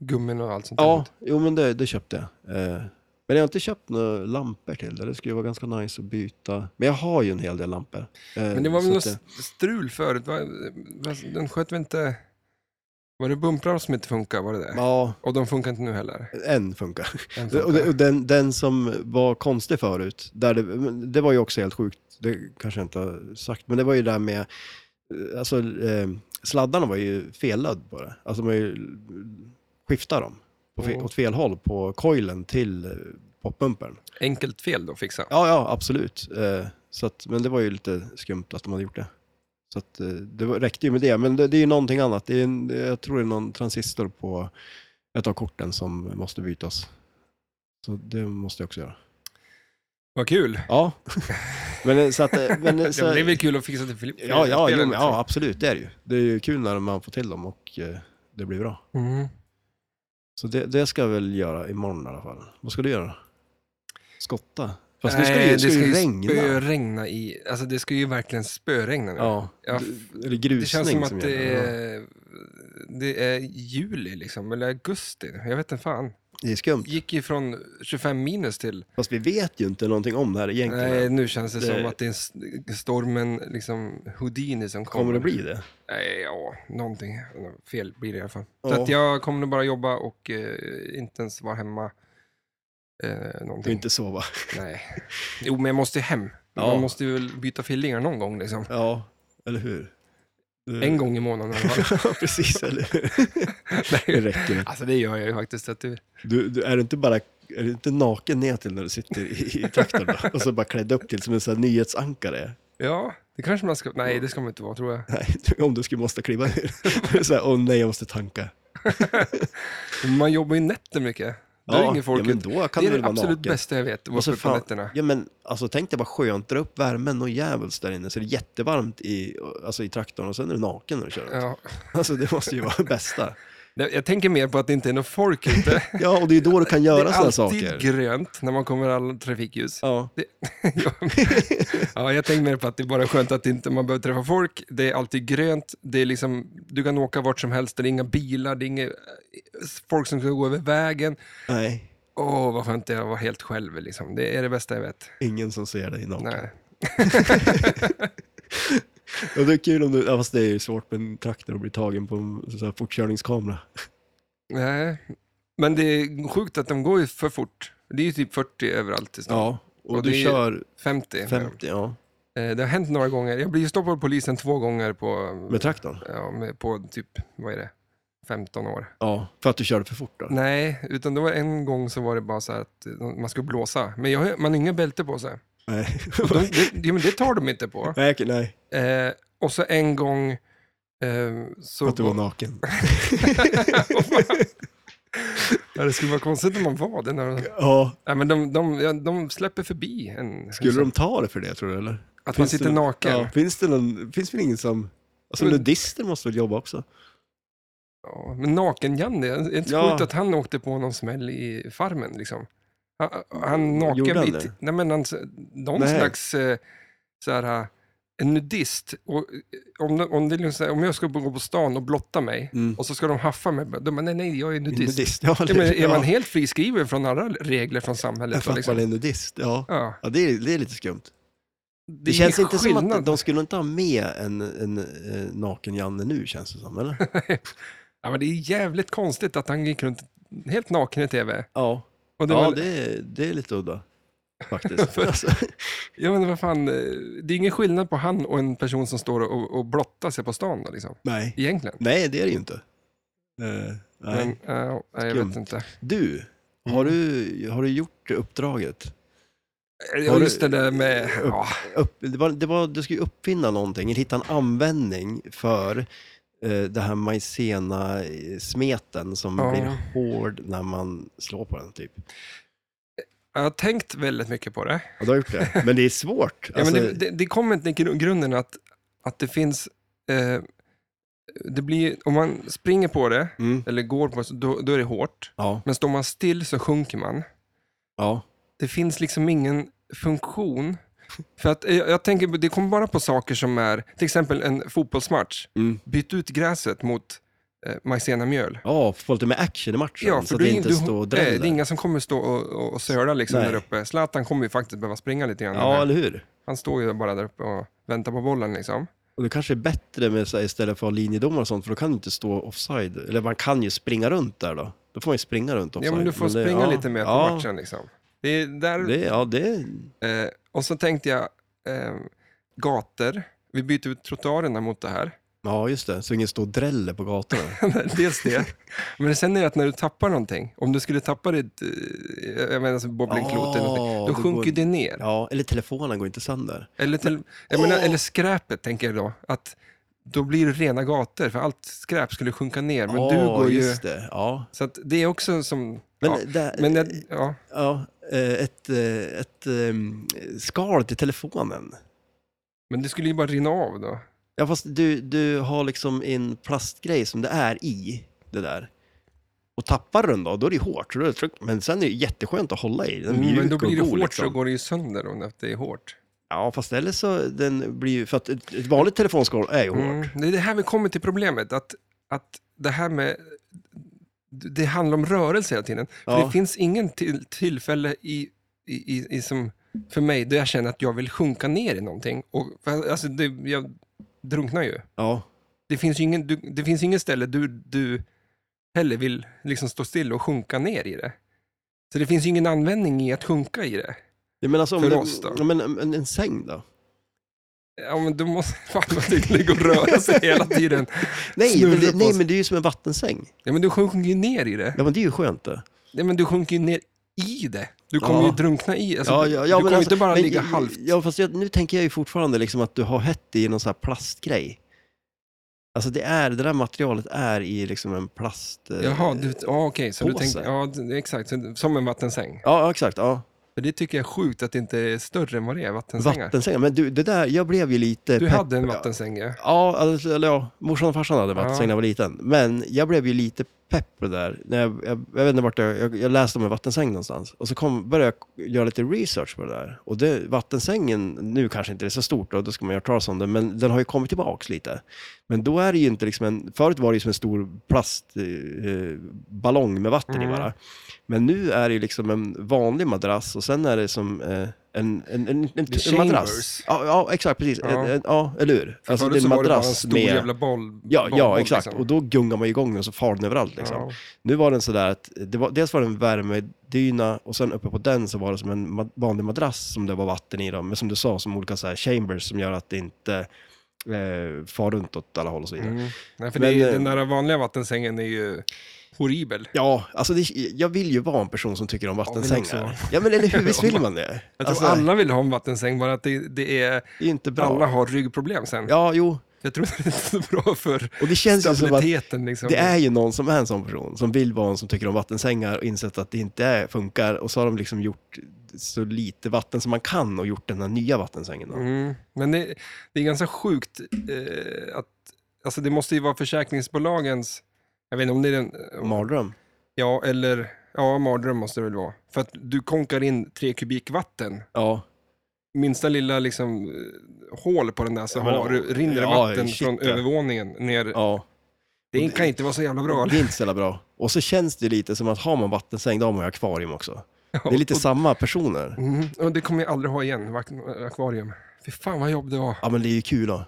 S1: Gummin och allt sånt
S2: Ja, jo men det, det köpte jag. Eh, Men jag har inte köpt några lampor till det. Det skulle vara ganska nice att byta. Men jag har ju en hel del lampor. Eh,
S1: Men det var väl något strul förut? Va? Va- Den sköt väl inte... Var det bumprar som inte funkar? Var det det?
S2: Ja,
S1: Och de funkar inte nu heller?
S2: en funkar.
S1: En
S2: Och det-
S1: funkar.
S2: och den, den som var konstig förut, där det, men det var ju också helt sjukt, det kanske jag inte har sagt, men det var ju det där med, eh, alltså eh, sladdarna var ju fellödd på det. Alltså man ju skiftar dem på fe,
S1: Mm.
S2: åt fel håll på coilen till eh, poppumpern.
S1: Enkelt fel då fixa.
S2: Ja, ja, absolut. Eh, så att, men det var ju lite skumt att de hade gjort det. Så att, eh, det var, räckte ju med det, men det, det är ju någonting annat. Det är en, jag tror det är någon transistor på ett av korten som måste bytas. Så det måste jag också göra.
S1: Vad kul!
S2: Ja, <laughs> men eh, så att... eh, Men, eh,
S1: Ja,
S2: så,
S1: men <laughs> det är väl kul att fixa till Filip?
S2: ja, ja, jo,
S1: spelen,
S2: men, ja, absolut, det är det ju. Det är ju kul när man får till dem och eh, det blir bra.
S1: liksom. Mm.
S2: Så det, det ska jag väl göra imorgon i alla fall. Vad ska du göra? Skotta? Fast nu ska
S1: Nej,
S2: det ju, ska det ju regna.
S1: spöregna i... Alltså det ska ju verkligen spöregna nu.
S2: Ja,
S1: Ja,
S2: eller grusning
S1: det känns som
S2: som
S1: att det
S2: gäller. Ja.
S1: är, det är juli liksom, eller augusti. Jag vet inte fan.
S2: Det är skumt.
S1: Gick ju från 25 minus till...
S2: Fast vi vet ju inte någonting om det här egentligen.
S1: Nej, nu känns det,
S2: Det-
S1: som att det är s- stormen liksom Houdini som kommer.
S2: Kommer det bli det?
S1: Nej, ja, någonting fel blir det i alla fall.
S2: Ja.
S1: Så att jag kommer nog bara jobba och eh, inte ens vara hemma. Eh,
S2: Du
S1: någonting.
S2: inte sova.
S1: Nej. Jo, men jag måste ju hem.
S2: Ja.
S1: Man måste ju väl byta fillingar någon gång liksom.
S2: Ja, eller hur?
S1: En gång i månaden i alla fall.
S2: <laughs> Ja, precis. Eller hur? <laughs> Det
S1: Nej.
S2: räcker.
S1: Alltså <laughs> det gör jag ju faktiskt. Att du...
S2: Du, du, är du inte bara är du inte naken ner till när du sitter i, i traktorn då? och så bara klädd upp till som en sån här nyhetsankare?
S1: Ja, det kanske man ska... Nej, det ska man inte vara tror jag.
S2: Nej, du- om du skulle måste kliva ur. Då är det <laughs> så här, åh nej, jag måste tanka.
S1: Men Man jobbar ju nätter mycket. Då är ingen folk
S2: ja,
S1: ute.
S2: men då kan
S1: det
S2: du
S1: är
S2: väl
S1: det
S2: vara
S1: absolut
S2: naken.
S1: bästa jag vet, att vara
S2: Och så
S1: uppe på
S2: Alltså, fan-
S1: nätterna.
S2: Ja, men alltså tänk dig bara skönt, dra upp värmen och djävulskt där inne så det är jättevarmt i, alltså, i traktorn och sen är du naken när du kör. runt.
S1: Ja.
S2: Alltså det måste ju vara det bästa.
S1: Nej, Jag tänker mer på att det inte är något folk ute.
S2: <laughs> Ja, och det är då du kan
S1: Det
S2: göra
S1: är
S2: sådana
S1: alltid
S2: saker.
S1: grönt när man kommer alla trafikljus.
S2: Ja.
S1: ja, men- <laughs> ja, jag tänker mer på att det är bara skönt att inte man behöver träffa folk. Det är alltid grönt. Det är liksom, du kan åka vart som helst. Det är inga bilar, det är inga eh, folk som ska gå över vägen.
S2: Nej,
S1: Åh, vad skönt det är att vara helt själv. Liksom. Det är det bästa jag vet.
S2: ingen som ser dig naken.
S1: Nej.
S2: Och det är kul om du, ja, fast det är ju svårt med en traktor att bli tagen på en sån här fortkörningskamera.
S1: Nej. Men det är sjukt att de går ju för fort. Det är ju typ 40 överallt i stan.
S2: Ja, och,
S1: Och
S2: du
S1: det är-
S2: kör
S1: 50.
S2: 50, ja,
S1: Eh, Det har hänt några gånger. Jag blir ju stoppad av polisen två gånger på,
S2: med traktorn.
S1: ja, med, på typ, vad är det, 15 år.
S2: Ja, för att du körde för fort då.
S1: Nej, utan det var en gång så var det bara så här att eh, man skulle blåsa. Men jag, har- man har inga bälte på sig. <laughs>
S2: Nej.
S1: De, det, ja, men det tar de inte
S2: <laughs>
S1: på.
S2: nej, okej, nej,
S1: Eh, och så en gång... Eh, så
S2: för att du var
S1: Mm.
S2: naken.
S1: ja, det skulle vara konstigt om man var det. När de,
S2: Ja,
S1: nej, men de, de, ja, de släpper förbi en. liksom.
S2: skulle de ta det för det tror du eller?
S1: att man
S2: finns det
S1: sitter
S2: någon-
S1: naken.
S2: Ja, finns det någon, finns väl ingen som, alltså
S1: Men-
S2: nudister måste väl jobba också?
S1: Ja, men naken-Janne, är det inte
S2: Ja.
S1: sjukt att han åkte på någon smäll i farmen liksom? Han, han
S2: Gjorde
S1: naken,
S2: han
S1: i
S2: det?
S1: t- nej men han, någon
S2: Nej.
S1: slags eh, så här, eh, en nudist. Och, eh, om, de- om, det, är liksom så här, om jag ska gå på stan och blotta mig
S2: Mm.
S1: och så ska de haffa mig, de bara, nej nej, jag är nudist.
S2: Nudist, ja.
S1: Ja, men, är
S2: ja.
S1: man helt friskriven från alla regler från samhället?
S2: för
S1: Då,
S2: att man
S1: liksom?
S2: är nudist, ja.
S1: ja,
S2: Ja, det är, det är lite skumt.
S1: det,
S2: Det,
S1: är
S2: känns inte som
S1: skillnad.
S2: att de skulle inte ha med en, en, eh, naken Janne nu, känns det
S1: <laughs>
S2: som, eller?
S1: ja, men det är jävligt konstigt att han gick runt helt naken i tv.
S2: Ja,
S1: Och
S2: det,
S1: det
S2: ja,
S1: var,
S2: det, är, det är lite udda,
S1: <laughs>
S2: faktiskt. alltså,
S1: Ja men vad fan, eh, det är ingen skillnad på han och en person som står och, och blottar sig på stan då, liksom.
S2: nej.
S1: Egentligen.
S2: nej, det är det ju inte. Eh, nej.
S1: Men, Mm. ja, nej, jag
S2: Skumt.
S1: vet inte.
S2: Du, har, du, har du gjort uppdraget? Har
S1: Ja,
S2: du-
S1: just det där med... Ja,
S2: Upp, det var, det var, du skulle ju uppfinna någonting, eller hitta en användning för eh, eh, det här maizena-smeten som
S1: Ja.
S2: blir hård när man slår på den. Typ.
S1: Jag har tänkt väldigt mycket på det.
S2: Ja, du har gjort det. Men det är svårt. Alltså,
S1: Ja, men det, det, det kommer inte i gru- grunden att, att det finns... Eh, det blir, om man springer på det,
S2: Mm,
S1: eller går på det, så då, då är det hårt.
S2: ja,
S1: Men står man still så sjunker man.
S2: ja.
S1: Det finns liksom ingen
S2: <laughs>
S1: funktion. För att, eh, jag, jag tänker, det kommer bara på saker som är, till exempel en fotbollsmatch.
S2: Mm.
S1: Byt ut gräset mot eh, majsenamjöl.
S2: Ja, få lite mer action i matchen så att
S1: du-
S2: det inte
S1: du-
S2: står och
S1: eh, det är
S2: dräller.
S1: inga som kommer stå och, och, och söla liksom
S2: Nej.
S1: där uppe. Zlatan kommer ju faktiskt behöva springa lite grann.
S2: Ja, eller hur?
S1: Han står ju bara där uppe och väntar på bollen liksom.
S2: Och det kanske är bättre med så här, istället för att ha linjedomar och sånt, för då kan du inte stå offside. Eller man kan ju springa runt där då. Då får man ju springa runt offside.
S1: Ja, men du får
S2: det-
S1: springa
S2: ja,
S1: lite mer på
S2: ja,
S1: matchen liksom. Det är där,
S2: Det, ja, det...
S1: Eh, och så tänkte jag, eh, gator. Vi byter ut trottoarerna mot det här. <laughs>
S2: Ja, just det. Så ingen står och dräller på gatorna.
S1: Dels det. Men sen är det att när du tappar någonting, om du skulle tappa ditt, eh, jag menar som bowlingklot eller någonting, då
S2: det
S1: sjunker
S2: går-
S1: det ner.
S2: Ja, eller telefonen går inte sönder.
S1: Eller, till, jag menar,
S2: Åh!
S1: eller skräpet, tänker jag då. Att då blir det rena gator, för allt skräp skulle sjunka ner. Men
S2: Ja,
S1: du går ju...
S2: just det. Ja.
S1: Så att det är också som...
S2: Men,
S1: ja.
S2: där,
S1: men jag, ja.
S2: ja, eh, ett, eh, ett ehm, skal till telefonen.
S1: Men det skulle ju bara rinna av då.
S2: Ja, fast du, du har liksom en plastgrej som det är i det där. Och tappar du den då, då är det ju hårt. så då är det tryck- Men sen är det ju jätteskönt att hålla i. Den är mjuk
S1: Mm, Men då blir det
S2: och god,
S1: hårt
S2: liksom.
S1: så går det ju sönder om det är hårt.
S2: Ja, fast eller så den blir ju... För att ett, ett vanligt telefonskal är ju hårt.
S1: Mm. Det är det här vi kommer till problemet, att, att det här med... Det handlar om rörelse hela tiden. För
S2: Ja.
S1: det finns ingen till, tillfälle i, i, i, i som, för mig där jag känner att jag vill sjunka ner i någonting. Och, för, alltså, det, jag drunknar ju.
S2: Ja,
S1: Det finns ju ingen, du, det finns ingen ställe du, du heller vill liksom stå still och sjunka ner i det. Så det finns ju ingen användning i att sjunka i det.
S2: Ja, men alltså, om
S1: För
S2: det-
S1: oss då?
S2: Ja, men en, en säng då?
S1: Ja, men du måste <laughs> fan vad det ligger och röra sig hela tiden.
S2: Nej
S1: Snurra
S2: men, det,
S1: på
S2: nej,
S1: sig.
S2: men det är ju som en vattensäng.
S1: Ja, men du sjunker ju ner i det.
S2: Ja, men det är ju skönt det.
S1: Ja, men du sjunker ju ner i det. Du kommer
S2: Ja.
S1: ju drunkna i. Alltså,
S2: ja, ja, ja,
S1: du kommer
S2: men
S1: ju
S2: alltså,
S1: inte bara
S2: men-
S1: ligga halvt.
S2: Ja, fast jag, nu tänker jag ju fortfarande liksom att du har hett i någon sån här plastgrej. Alltså det, är, det där materialet är i liksom en plast... eh,
S1: Jaha, du, ja, okej. så du
S2: Påse.
S1: tänkte, ja, det- exakt. så- Som en vattensäng.
S2: Ja, ja, exakt. Ja.
S1: För det tycker jag är sjukt att det inte är större än vad det är, vattensängar.
S2: Vattensängar. Men du, det där, jag blev ju lite...
S1: Du
S2: pepp-
S1: hade en vattensäng, ja.
S2: Ja, alltså, eller ja, morsan och farsan hade vattensäng när jag var liten. Men jag blev ju lite pepp på det där. När jag, jag, jag vet inte vart jag, jag, jag läste om en vattensäng någonstans. Och så kom, började jag göra lite research på det där. Och det, vattensängen, nu kanske inte det är så stort då, då ska man göra talas om det, men den har ju kommit tillbaks lite. Men då är det ju inte liksom en, förut var det ju som en stor plastballong eh, ballong med vatten
S1: Mm.
S2: i bara. Men nu är det ju liksom en vanlig madrass och sen är det som eh, en, en, en, en,
S1: är
S2: en madrass.
S1: chambers.
S2: Ja, ja, exakt, precis.
S1: Ja.
S2: En- en- Ja, eller hur? Alltså det
S1: Förut
S2: är en
S1: så var det bara en
S2: madrass
S1: stor
S2: med...
S1: jävla boll.
S2: Ja,
S1: boll,
S2: ja
S1: boll,
S2: exakt.
S1: liksom.
S2: Och då gungar man igång den så far den överallt. Liksom.
S1: Ja.
S2: Nu var den sådär att, det var, dels var det en värmedyna och sen uppe på den så var det som en ma- vanlig madrass som det var vatten i. Dem. Men som du sa, som olika så här chambers som gör att det inte eh, far runt åt alla håll och så vidare.
S1: Mm. Nej, för
S2: Men,
S1: det är,
S2: eh,
S1: den där vanliga vattensängen är ju horribel.
S2: Ja, alltså det, jag vill ju vara en person som tycker om
S1: vill också vara.
S2: vattensängar. Ja,
S1: <laughs>
S2: men eller hur, visst vill man det?
S1: Jag tror
S2: Alltså,
S1: alla vill ha en vattensäng, bara att det, det är,
S2: det är inte
S1: alla
S2: bra.
S1: har ryggproblem sen.
S2: Ja, jo.
S1: Jag tror <laughs> inte det är så bra för
S2: Och det känns ju som att
S1: stabiliteten. Liksom.
S2: Det är ju någon som är en sån person, som vill vara en som tycker om vattensängar och insett att det inte är, funkar. Och så har de liksom gjort så lite vatten som man kan och gjort den här nya vattensängen. Då.
S1: Mm. Men det, det är ganska sjukt eh, att, alltså det måste ju vara försäkringsbolagens, jag vet inte om det är den,
S2: Mardröm.
S1: ja eller, ja mardröm måste det väl vara. För att du konkar in tre kubik vatten,
S2: Ja.
S1: minsta lilla liksom eh, hål på den där så
S2: Ja, men-
S1: har du, rinner det
S2: ja,
S1: vatten
S2: shit,
S1: från
S2: ja.
S1: övervåningen ner.
S2: ja.
S1: Det kan inte vara så jävla bra.
S2: Det är inte så jävla bra. Och så känns det lite som att har man vattensäng, då har man ju akvarium också. Det är lite samma personer.
S1: Mm. Och det kommer jag aldrig ha igen, vak- akvarium. Fy fan vad jobb det var.
S2: Ja, men det är ju kul då.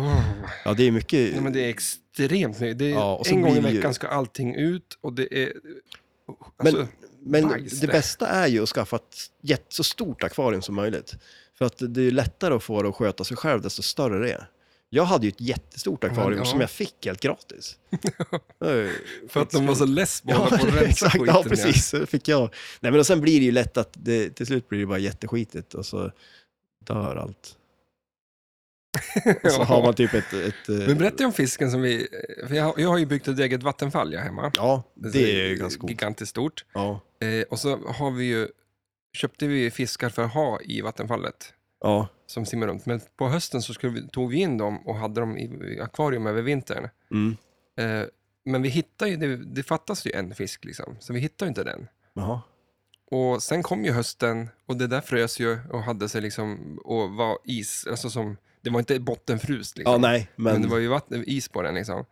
S1: Oh.
S2: Ja, det är mycket...
S1: Nej, men det är extremt mycket. Det är,
S2: Ja, och så
S1: en gång i
S2: blir det ju-
S1: veckan ska allting ut och det är...
S2: Men,
S1: Alltså,
S2: men
S1: bajs
S2: det
S1: det.
S2: bästa är ju att skaffa ett jätt- så stort akvarium som möjligt. För att det är lättare att få det att sköta sig själv, desto större det är. Jag hade ju ett jättestort akvarium
S1: ja.
S2: som jag fick
S1: <laughs>
S2: helt gratis. Det var ju
S1: för att de var så less på att
S2: Ja, <laughs>
S1: hålla på och rensa
S2: exakt.
S1: skiten.
S2: Ja,
S1: ja.
S2: precis. Så fick jag. Nej, men och sen blir det ju lätt att det, till slut blir det bara jätteskitigt och så dör allt. Och
S1: <laughs>
S2: så har man typ ett... ett eh,
S1: Men berätta om fisken som vi... För jag, har, jag har ju byggt ett eget vattenfall jag hemma.
S2: ja,
S1: Alltså,
S2: det är ju ganska coolt.
S1: Gigantiskt stort.
S2: Ja,
S1: Eh, och så har vi ju, köpte vi fiskar för att ha i vattenfallet
S2: ja,
S1: som simmar runt. Men på hösten så skulle vi, tog vi in dem och hade dem i, i akvarium över vintern.
S2: mm.
S1: Eh, men vi hittar ju, det, det fattas ju en fisk liksom, så vi hittar ju inte den.
S2: Jaha.
S1: Och sen kom ju hösten och det där frös ju och hade sig liksom och var is, alltså som, det var inte bottenfrust liksom.
S2: Ja, nej, men...
S1: men... det var ju vatten, is på den liksom.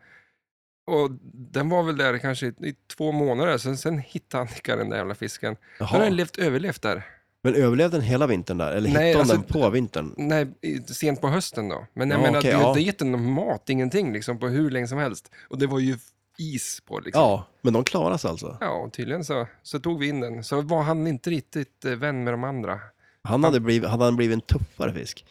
S1: Och den var väl där kanske i, i två månader, sen, sen hittade Annika den där jävla fisken. Då har
S2: Jaha.
S1: den levt, överlevt där.
S2: Men överlevde den hela vintern där? Eller
S1: Nej,
S2: hittade
S1: alltså-
S2: den på vintern?
S1: Nej, i- sent på hösten då. Men jag
S2: Ja,
S1: menar,
S2: okej,
S1: det har
S2: ja.
S1: inte gett den mat, ingenting liksom, på hur länge som helst. Och det var ju is på liksom.
S2: Ja, men de klarar sig alltså.
S1: Ja, och tydligen så, så tog vi in den. Så var han inte riktigt eh, vän med de andra.
S2: Han hade, blivit, hade han blivit en tuffare fisk?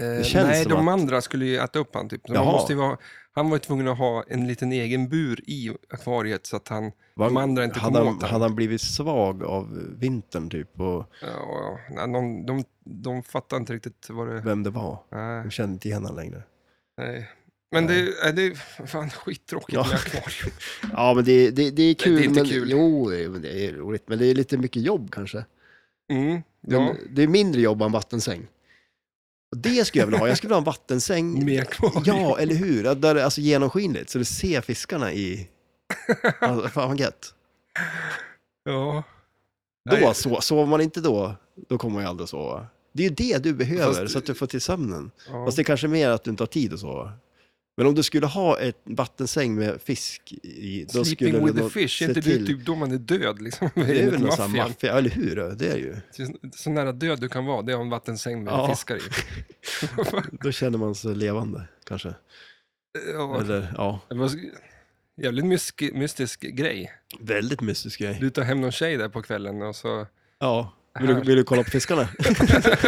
S1: Eh,
S2: känns
S1: nej,
S2: som
S1: de
S2: att-
S1: andra skulle ju äta upp han. Typ. Så Man
S2: Jaha.
S1: måste ju vara, han var ju tvungen att ha en liten egen bur i akvariet så att han...
S2: Var,
S1: De andra inte
S2: hade,
S1: kom
S2: han,
S1: åt den.
S2: hade han blivit svag av vintern typ? Och
S1: Ja, nej, de, de, de fattar inte riktigt vad det...
S2: vem det var?
S1: Nej,
S2: De kände inte igen honom längre.
S1: nej. Men det, nej, det är fan skittråkigt
S2: Ja.
S1: med akvarium.
S2: Ja, men det, det, det är kul.
S1: det är inte
S2: men,
S1: kul.
S2: Jo, det är- men det är roligt. Men det är lite mycket jobb kanske.
S1: Mm,
S2: De,
S1: ja.
S2: Det är mindre jobb än vattensäng. Och det skulle jag vilja ha. Jag skulle vilja ha
S1: <laughs>
S2: en vattensäng.
S1: Med akvarium.
S2: Ja, eller hur? Ja, Där, det är alltså genomskinligt, så du ser
S1: <laughs>
S2: fiskarna i... Alltså, fan vad gött.
S1: ja.
S2: Då, alltså.
S1: Nej.
S2: så, sover man inte då, då kommer man ju aldrig att sova. Det är ju det du behöver,
S1: Fast-
S2: så att du får till sömnen.
S1: Ja.
S2: Fast det är kanske mer att du inte har tid att sova. Men om du skulle ha ett vattensäng med fisk i, då skulle
S1: Sleeping
S2: du
S1: with the
S2: nog
S1: fish,
S2: se
S1: är inte det
S2: till-
S1: typ då man är död? Liksom,
S2: Det är väl någon sån här
S1: maffian.
S2: maffia, eller hur? Det är det ju.
S1: Så- Så nära död du kan vara, det är en vattensäng med
S2: Ja.
S1: fiskar i.
S2: Då känner man sig levande, kanske.
S1: ja,
S2: Eller, ja.
S1: det var sk- jävligt mysk- mystisk grej.
S2: Väldigt mystisk grej.
S1: Du tar hem någon tjej där på kvällen och
S2: <laughs>
S1: så...
S2: Ja. Vill du, vill du kolla på fiskarna? <laughs>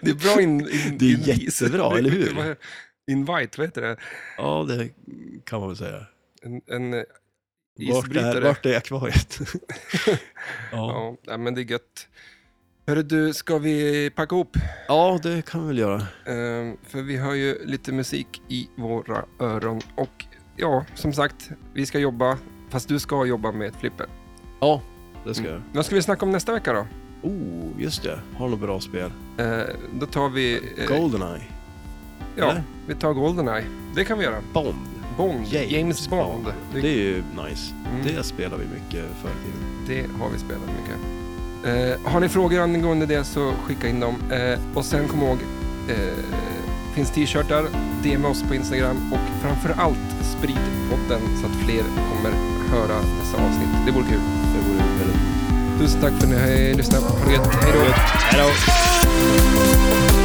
S1: Det är bra in... in
S2: Det är
S1: in-
S2: jättebra, eller hur?
S1: vad- <laughs> Invite, vad heter det?
S2: Ja, det kan man väl säga.
S1: En, en eh,
S2: Vart är,
S1: isbrytare.
S2: vart
S1: <laughs>
S2: är akvariet? ja.
S1: Ja, nej, men det är gött. Hörru du, ska vi packa ihop?
S2: ja, det kan vi väl göra.
S1: Ehm, för vi har ju lite musik i våra öron och ja, som sagt, vi ska jobba, fast du ska jobba med ett flipper.
S2: Ja, det ska jag.
S1: Vad ska vi snacka om nästa vecka då?
S2: Oh, just det. Har något bra spel.
S1: Eh, då tar vi... eh,
S2: Goldeneye.
S1: ja,
S2: eller?
S1: vi tar Goldeneye. Det kan vi göra.
S2: Bomb.
S1: Bond. James,
S2: James
S1: Bond.
S2: Det
S1: Det,
S2: är ju nice.
S1: Mm.
S2: Det spelar vi mycket förr i tiden.
S1: det har vi spelat mycket. Eh, har ni frågor angående det så skicka in dem. Eh, och sen kom ihåg, eh, finns t-shirtar, DM oss på Instagram och framför allt sprid podden så att fler kommer höra dessa avsnitt. Det vore kul.
S2: Det vore väldigt...
S1: Tusen tack för att ni har lyssnat. Ha det gött. Hej då.
S2: Hej då!